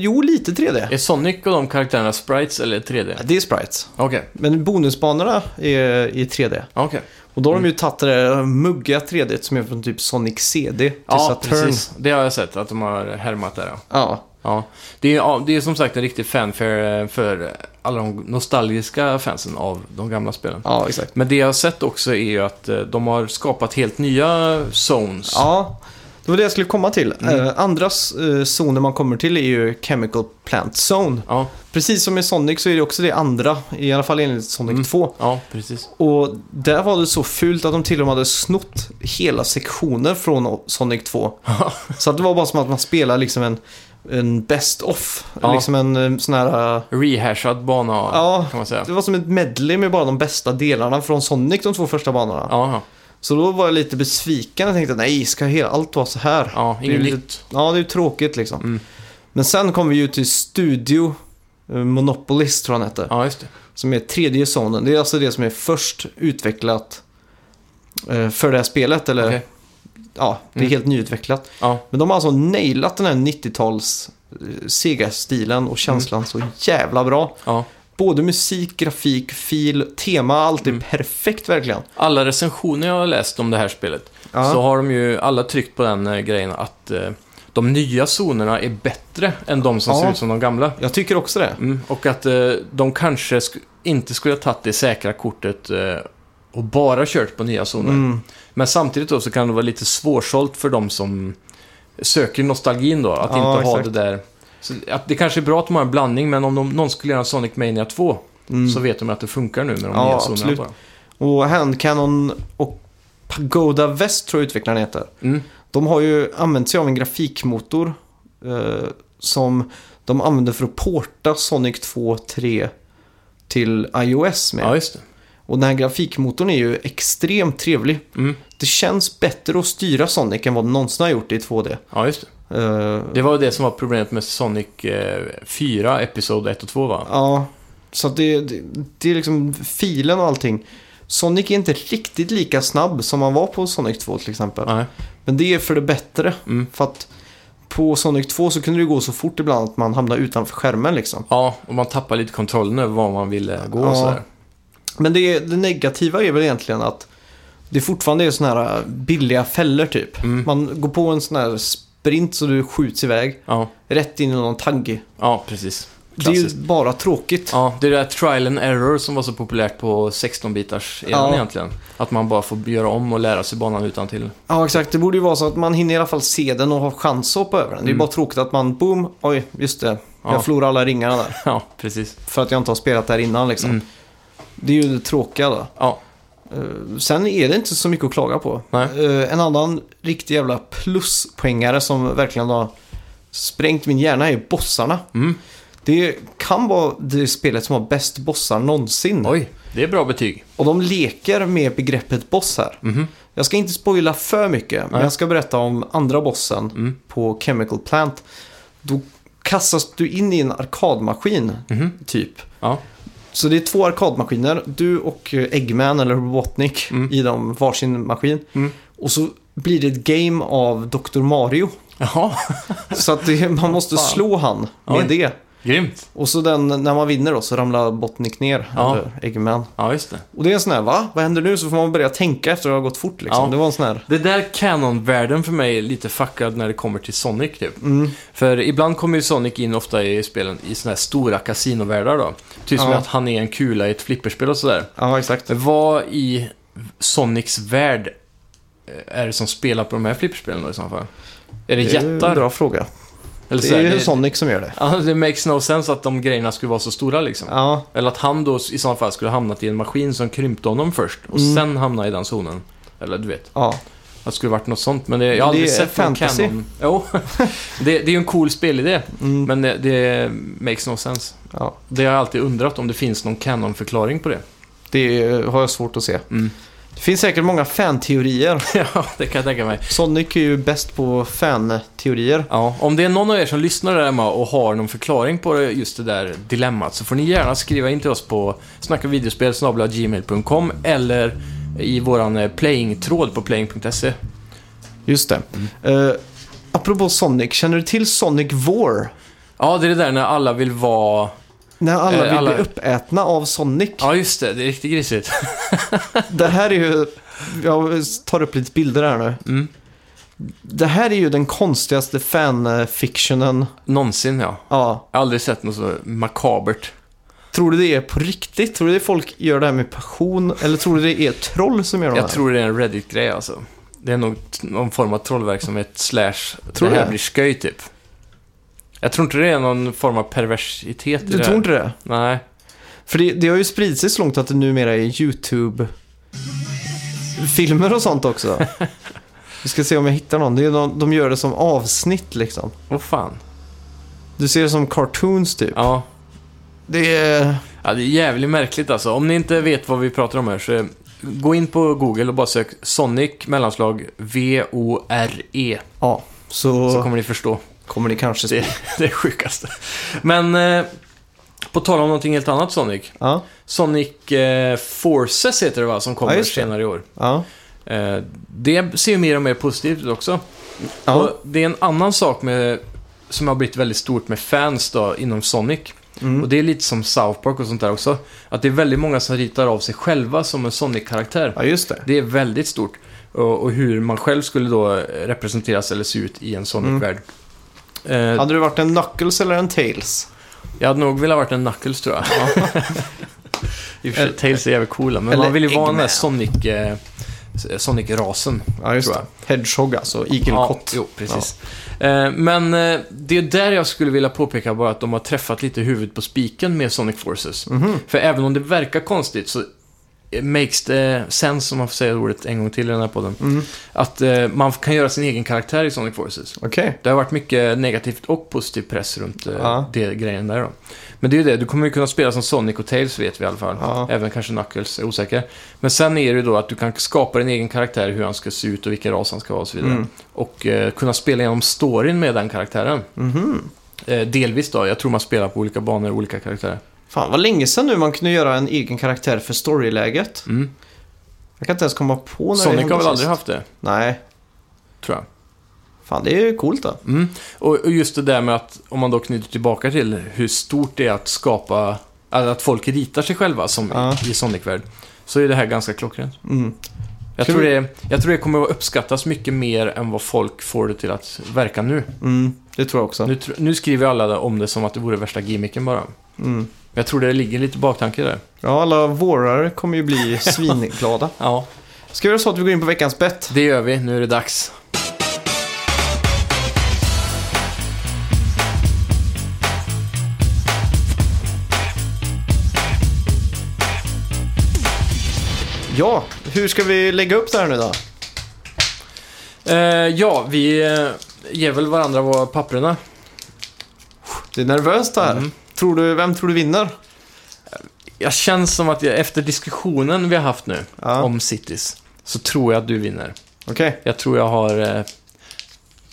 Jo, lite 3D. Är Sonic och de karaktärerna sprites eller 3D? Det är sprites. Okej, Men bonusbanorna är i 3D. okej. Och då har de ju tagit det där muggiga 3D som är från typ Sonic CD till Ja, Saturn. precis. Det har jag sett att de har härmat där. Ja. Ja, Ja. Det, är, ja, det är som sagt en riktig fanfare eh, för alla de nostalgiska fansen av de gamla spelen. ja, exakt. Men det jag har sett också är ju att eh, de har skapat helt nya zones. Ja, det var det jag skulle komma till. Mm. Eh, andra eh, zoner man kommer till är ju Chemical Plant Zone. ja, Precis som i Sonic så är det också det andra, i alla fall enligt Sonic Mm. 2. ja precis. Och där var det så fult att de till och med hade snott hela sektioner från Sonic 2. så att det var bara som att man spelar liksom en, en best of. Ja. Liksom en eh, sån här... eh, Rehashad bana Ja, kan man säga. det var som ett medley med bara de bästa delarna från Sonic de två första banorna. Ja, Så då var jag lite besviken och tänkte nej, ska hela, allt vara så här? ja Det är inget ju nytt. Ja, det är ju tråkigt liksom. Mm. Men sen kom vi ju till Studio eh, Monopolist tror jag han hette. Ja, just det. Som är tredje zonen. Det är alltså det som är först utvecklat eh, för det här spelet. Eller Okej. ja, det är Mm. helt nyutvecklat. Ja. Men de har alltså nailat den här 90-tals eh, Sega-stilen och känslan Mm. så jävla bra. Ja. Både musik, grafik, fil, tema, allt är Mm. perfekt verkligen. Alla recensioner jag har läst om det här spelet Ja. så har de ju alla tryckt på den eh, grejen att eh, de nya zonerna är bättre än de som Ja. ser ut som de gamla. Jag tycker också det. Mm. Och att eh, de kanske sk- inte skulle ha tagit det säkra kortet eh, och bara kört på nya zoner. Mm. Men samtidigt då så kan det vara lite svårsålt för de som söker nostalgin då, att Ja, inte ha det exakt. där. Så att det kanske är bra att de har en blandning, men om de, någon skulle göra en Sonic Mania 2 Mm. så vet de att det funkar nu med de Ja, nya zonerna absolut. bara. Och Handcannon och Pagoda West tror jag utvecklaren heter. Mm. De har ju använt sig av en grafikmotor eh, som de använder för att porta Sonic 2 3 till iOS med. Ja, just det. Och den här grafikmotorn är ju extremt trevlig. Mm. Det känns bättre att styra Sonic än vad det någonsin har gjort i 2D. Ja, just det. Eh, Det var ju det som var problemet med Sonic eh, 4, Episod 1 och 2 va? Ja, så att det, det, det är liksom filen och allting. Sonic är inte riktigt lika snabb som han var på Sonic 2 till exempel. Nej. Men det är för det bättre. Mm. För att på Sonic 2 så kunde det gå så fort ibland att man hamnade utanför skärmen liksom. Ja, och man tappar lite kontrollen över var man ville gå Ja. och sådär. Men det, det negativa är väl egentligen att det fortfarande är sådana här äh, billiga fällor typ. Mm. Man går på en sån här sprint så du skjuts iväg Ja, rätt in i någon tagg. ja precis. Det är ju Klassiskt. bara tråkigt. Ja, det är det där trial and error som var så populärt på 16-bitars Ja. egentligen. Att man bara får göra om och lära sig banan utan till. Ja, exakt. Det borde ju vara så att man hinner i alla fall se den och ha chans att hoppa över den. Det är Mm. bara tråkigt att man, boom, oj, just det. Jag Ja. förlorar alla ringarna där. Ja, precis. För att jag inte har spelat där innan liksom. Mm. Det är ju det tråkiga då. Ja, Eh, Sen är det inte så mycket att klaga på. Nej. Eh, En annan riktig jävla pluspoängare som verkligen har sprängt min hjärna är bossarna. Mm. Det kan vara det spelet som har bäst bossar någonsin. oj. Det är bra betyg. Och de leker med begreppet boss här. Mhm. Jag ska inte spoila för mycket, men Nej. jag ska berätta om andra bossen Mm. på Chemical Plant. Då kastas du in i en arkadmaskin, Mhm. typ. Ja. Så det är två arkadmaskiner, du och eh, Eggman eller Robotnik Mm. i dem varsin maskin. Mm. Och så blir det ett game av Dr. Mario. Jaha, Så att det, man måste Fan. slå han med Oj. det. grymt. Och så den, när man vinner då så ramlar Robotnik ner, Ja. eller Eggman. Ja, just det. Och det är en sån här, va? Vad händer nu? Så får man börja tänka efter att det har gått fort liksom. Ja. Det var en sån här... Det där canon-världen för mig är lite fuckad när det kommer till Sonic typ. Mm. För ibland kommer ju Sonic in ofta i spelen i såna här stora kasinovärldar då. Typ som Ja. att han är en kula i ett flipperspel och sådär. Ja, exakt. Vad i Sonics värld eh, är det som spelar på de här flipperspelen då i så fall? Är det Det är ju en jättar? bra fråga. Eller Det så här, är ju det, Sonic som gör det. Ja, det makes no sense att de grejerna skulle vara så stora liksom. Ja, Eller att han då i så fall skulle ha hamnat i en maskin som krympte honom först och Mm. sen hamna i den zonen. Eller du vet, ja. att det skulle varit något sånt. Men det, jag har Det aldrig är sett någon fantasy. canon. Jo, det, det är ju en cool spelidé. Mm. Men det, det makes no sense. ja. Det har jag alltid undrat om det finns någon canon-förklaring på det. Det är- har jag svårt att se. Mm. Det finns säkert många fan-teorier. ja, det kan jag tänka mig. Sonic är ju bäst på fan-teorier. Ja, om det är någon av er som lyssnar där hemma och har någon förklaring på det- just det där dilemmat så får ni gärna skriva in till oss på snackavideospel.gmail.com eller i våran eh, playing-tråd på playing.se. Just det. Eh, apropå Sonic, känner du till Sonic War? Ja, det är det där när alla vill vara... När alla Eh, vill alla- bli uppätna av Sonic. Ja, just det. Det är riktigt grisigt. Det här är ju... Jag tar upp lite bilder här nu. Mm. Det här är ju den konstigaste fanfictionen. Någonsin, ja. Ja. Jag har aldrig sett något så makabert. Tror du det är på riktigt? Tror du det är folk gör det här med passion? Eller tror du det är troll som gör det här? Jag tror det är en Reddit-grej alltså. Det är nog t- någon form av trollverksamhet slash Tror det du här det? blir sköj typ. Jag tror inte det är någon form av perversitet i Du det tror här. inte det? Nej. För det, det har ju spridit sig så långt att det numera är YouTube-filmer och sånt också. Vi ska se om jag hittar någon. Det är någon de gör det som avsnitt liksom. Åh fan. Du ser det som cartoons typ. Ja. Det är... ja, det är jävligt märkligt alltså. Om ni inte vet vad vi pratar om här så eh, gå in på Google och bara sök Sonic mellanslag V-O-R-E. Ja, så, E, Så kommer ni förstå. kommer det kanske... Det, det är sjukaste. Men eh, på tal om någonting helt annat Sonic. Ja, Sonic eh, Forces heter det va, som kommer Ja, just det. senare i år. ja. Eh, det ser ju mer och mer positivt ut också. ja. Och det är en annan sak med, som har blivit väldigt stort med fans då, inom Sonic. Mm. Och det är lite som South Park och sånt där också. Att det är väldigt många som ritar av sig själva som en Sonic-karaktär. ja, just det. Det är väldigt stort. Och, och hur man själv skulle då representeras eller se ut i en Sonic-värld. Eh, Hade du varit en Knuckles eller en Tails? Jag hade nog velat varit en Knuckles tror jag. I och för sig, Eller- Tails är jävligt coola, men eller man vill ju vara den där Eggman. Sonic... Eh, Sonic-rasen. Ja, just Tror det. Hedgehog alltså, igelkott. Ja, jo, precis. Eh, men eh, det är där jag skulle vilja påpeka bara att de har träffat lite huvudet på spiken med Sonic Forces. Mhm. För även om det verkar konstigt så eh, makes the sense, om man får säga ordet en gång till i den här podden, Mm. att eh, man kan göra sin egen karaktär i Sonic Forces. Okej. Det har varit mycket negativt och positiv press runt eh, Ja. det grejen där då. Men det är ju det, du kommer ju kunna spela som Sonic och Tails vet vi i alla fall. Ja. Även kanske Knuckles, är osäker. Men sen är det ju då att du kan skapa din egen karaktär, hur han ska se ut och vilken ras han ska vara och så vidare. Mm. Och eh, kunna spela igenom storyn med den karaktären. Mhm. Eh, delvis då, jag tror man spelar på olika banor och olika karaktärer. Fan, vad länge sedan nu man kunde göra en egen karaktär för storyläget. Mm. Jag kan inte ens komma på när det Sonic hände har väl aldrig sist. haft det, Nej. tror jag. Fan, det är ju coolt då. Mm. Och, och just det där med att, om man då knyter tillbaka till hur stort det är att skapa, eller att folk ritar sig själva som Ja. i Sonic-värld, så är det här ganska klockrent. Mm. Jag Kul. tror, det, jag tror det kommer att uppskattas mycket mer än vad folk får det till att verka nu. Mm. Det tror jag också. Nu, tr- nu skriver alla om det som att det vore värsta gimmicken bara. Mm. Jag tror det ligger lite baktanke där. Ja, alla vårare kommer ju bli svinglada. Ja, Ska vi göra så att vi går in på veckans bett? det gör vi. Nu är det dags. Ja, hur ska vi lägga upp det här nu då? Eh, ja, vi eh, ger väl varandra våra papperna. Det är nervöst det här. Mm. Tror du, vem tror du vinner? Jag känns som att jag, efter diskussionen vi har haft nu Ja. om Cities, så tror jag att du vinner. Okej. Jag tror jag har eh,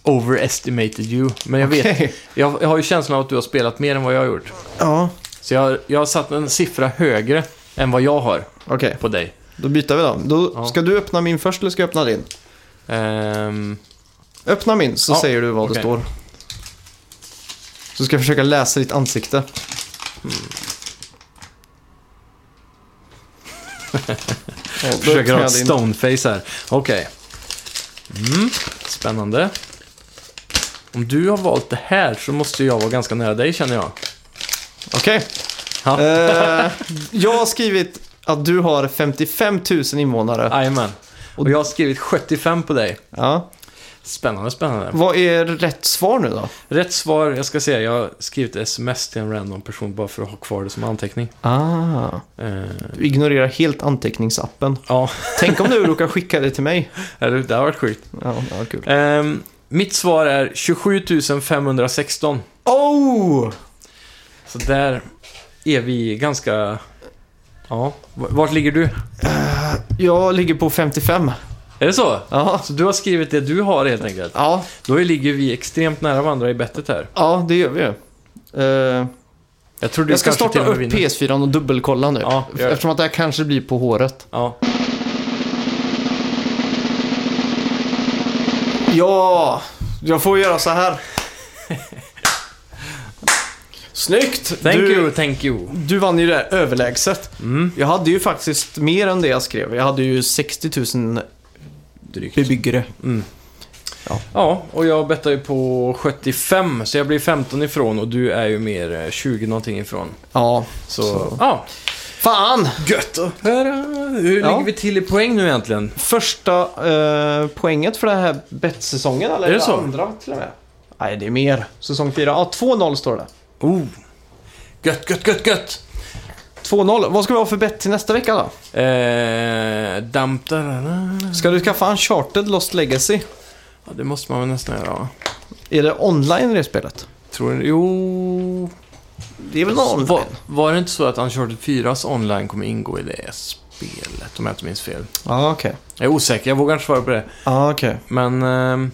overestimated you. Men jag vet, Okej. jag, jag har ju känslan av att du har spelat mer än vad jag har gjort. Ja, Så jag, jag har satt en siffra högre än vad jag har okej. på dig. Då byter vi då. då Ja. Ska du öppna min först eller ska jag öppna din? Ehm, Öppna min så Ja, säger du vad det okej. står. Så ska jag försöka läsa ditt ansikte. Ja, då försöker öppnar ha jag ett din. stoneface här. Okej. Mm, spännande. Om du har valt det här så måste jag vara ganska nära dig känner jag. Okej. Ja. Eh, jag har skrivit att du har 55 000 invånare. Jajamän. Och jag har skrivit 75 på dig. Ja. Spännande, spännande. Vad är rätt svar nu då? Rätt svar, jag ska säga, jag har skrivit sms till en random person bara för att ha kvar det som anteckning. Ah. Eh, Du ignorerar helt anteckningsappen. ja, Tänk om du råkar skicka det till mig. eller, det har varit sjukt. Ja, ja kul. Ehm, mitt svar är 27 516. Oh! Så där är vi ganska... Ja, v- vart ligger du? Jag ligger på 55. Är det så? Ja. Så du har skrivit det du har helt enkelt. Ja, Då ligger vi extremt nära varandra i bettet här. ja det gör vi ju. Eh, Jag tror du jag ska kanske starta till och upp med vinner. PS4 och dubbelkolla nu. Ja, gör det. eftersom att det här kanske blir på håret. Ja, Ja, jag får göra så här. Snyggt! thank du, you, thank you. du vann ju det här överlägset. Mm, Jag hade ju faktiskt mer än det jag skrev. Jag hade ju 60 000 drygt. bebyggare. Mm. Ja. Ja, och jag bettar ju på 75, så jag blir 15 ifrån och du är ju mer eh, 20 någonting ifrån. Ja, Så, Så. ja. fan! Gött! Här, eh, hur Ja. ligger vi till i poäng nu egentligen? Första eh, poänget för den här bettsäsongen, eller Är det så? andra till och med? Nej, det är mer. Säsong 4. Ja, 2-0 står det. Oh. Gött, gött, gött, gött! 2-0. Vad ska vi ha för bett till nästa vecka då? Eh, damp, da, da, da. Ska du skaffa Uncharted Lost Legacy? Ja, det måste man väl nästan göra va? Är det online det spelet? Tror ni? Jo... Det är väl online? Var, var det inte så att Uncharted 4s online kommer ingå i det spelet? Om jag inte minns fel. Ja, okej. Jag är osäker, jag vågar inte svara på det. Ja, okej. Men... ehm,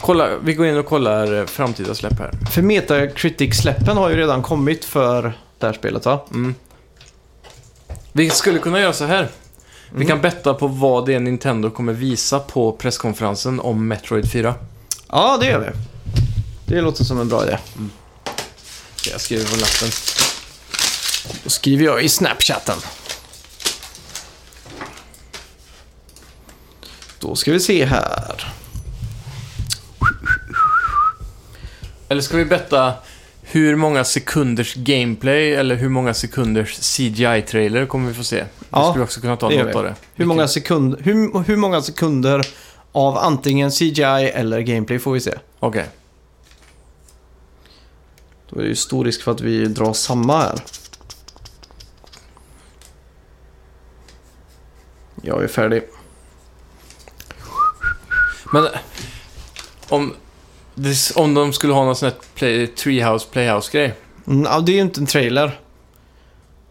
kolla, vi går in och kollar eh, framtida släpp här. För Metacritic-släppen har ju redan kommit för det här spelet va? Mm. Vi skulle kunna göra så här. Mhm. Vi kan betta på vad det är Nintendo kommer visa på presskonferensen om Metroid 4. Ja, det gör vi. Det låter som en bra idé. Okej, Jag skriver på lappen. Då skriver jag i Snapchatten. Då ska vi se här. Eller ska vi betta hur många sekunders gameplay eller hur många sekunders CGI-trailer kommer vi få se? Ja, det skulle vi också kunna ta det gör något vi. av det. Hur många, sekund, hur, hur många sekunder av antingen CGI eller gameplay får vi se? Okej. Då är det ju stor risk för att vi drar samma här. Jag är färdig. Men om, det- om de skulle ha någon sån här play, Treehouse Playhouse-grej. Mm, ja, det är ju inte en trailer.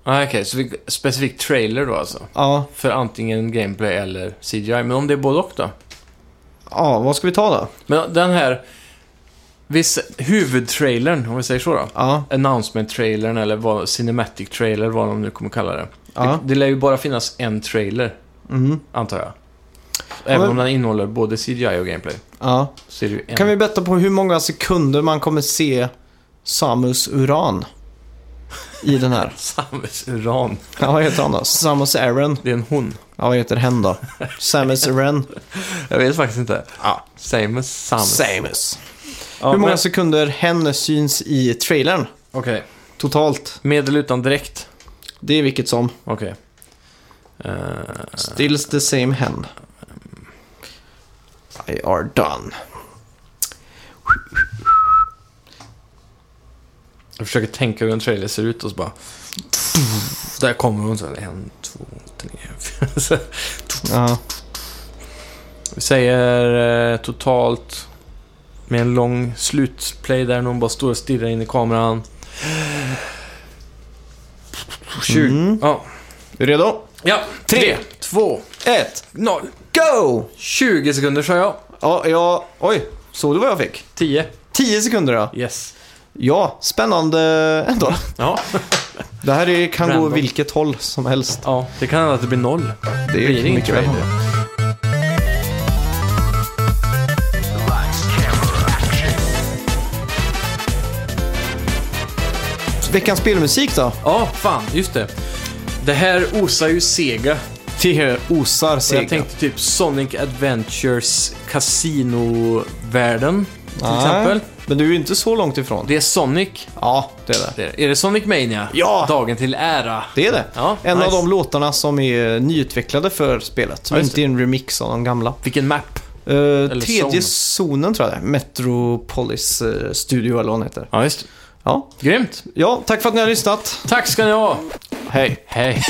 Nej, okej. så vi, specifik trailer då alltså. Ja, För antingen gameplay eller CGI. Men om det är både och då? ja vad ska vi ta då? Men den här... Viss, huvudtrailern, om vi säger så då. Ja, Announcement-trailern eller vad, cinematic-trailer, vad de nu kommer kalla det. ja. Det, det lär ju bara finnas en trailer, Mm, antar jag. Även men- om den innehåller både CGI och gameplay. ja. Så är det ju en. Kan vi betta på hur många sekunder man kommer se Samus Uran? I den här. Samus Uran. Ja, vad heter han då? Samus Aran. Det är en hon. Ja, vad heter hen då? Samus Aran. Jag vet faktiskt inte. Ja. Samus. Samus. Samus. Ja, Hur många men- sekunder hen syns i trailern? Okej. Totalt. Medel utan dräkt. Det är vilket som. Okej. Eh, Stills the same hen. I are done. jag försöker tänka hur en trailer ser ut och så bara... Där kommer hon. Så här, en, två, tre, fyra. Så Ja. Vi säger eh, totalt med en lång slutplay där någon bara står och stirrar in i kameran. 20. Mm. Ja. Är du redo? ja, Tre. 3, 2, Ett. 0. Go! 20 sekunder sa jag. Ja, ja. Oj, såg du vad jag fick? 10. Tio sekunder ja. Yes. Ja, spännande ändå. Ja. Det här är, kan gå Random. vilket håll som helst. ja, det kan hända att det blir noll. Det blir ingen mycket väl trailer. hållbart. Veckans spelmusik då? Ja, fan, just det. Det här osar ju Sega. Det osar Så jag Sega. tänkte typ Sonic Adventures Casino-världen, till Nej, exempel. Men du är ju inte så långt ifrån. Det är Sonic. Ja, det är det. Det är, det. är det Sonic Mania? Ja! Dagen till ära. Det är det. Ja, en nice. av de låtarna som är nyutvecklade för spelet. Som Ja, just inte är en remix av de gamla. Vilken map? Eh, tredje zone. zonen tror jag det är. Metropolis eh, Studio eller vad den heter. Ja, just Ja. Grymt. ja, tack för att ni har lyssnat. Tack ska ni ha. Hej. Hej.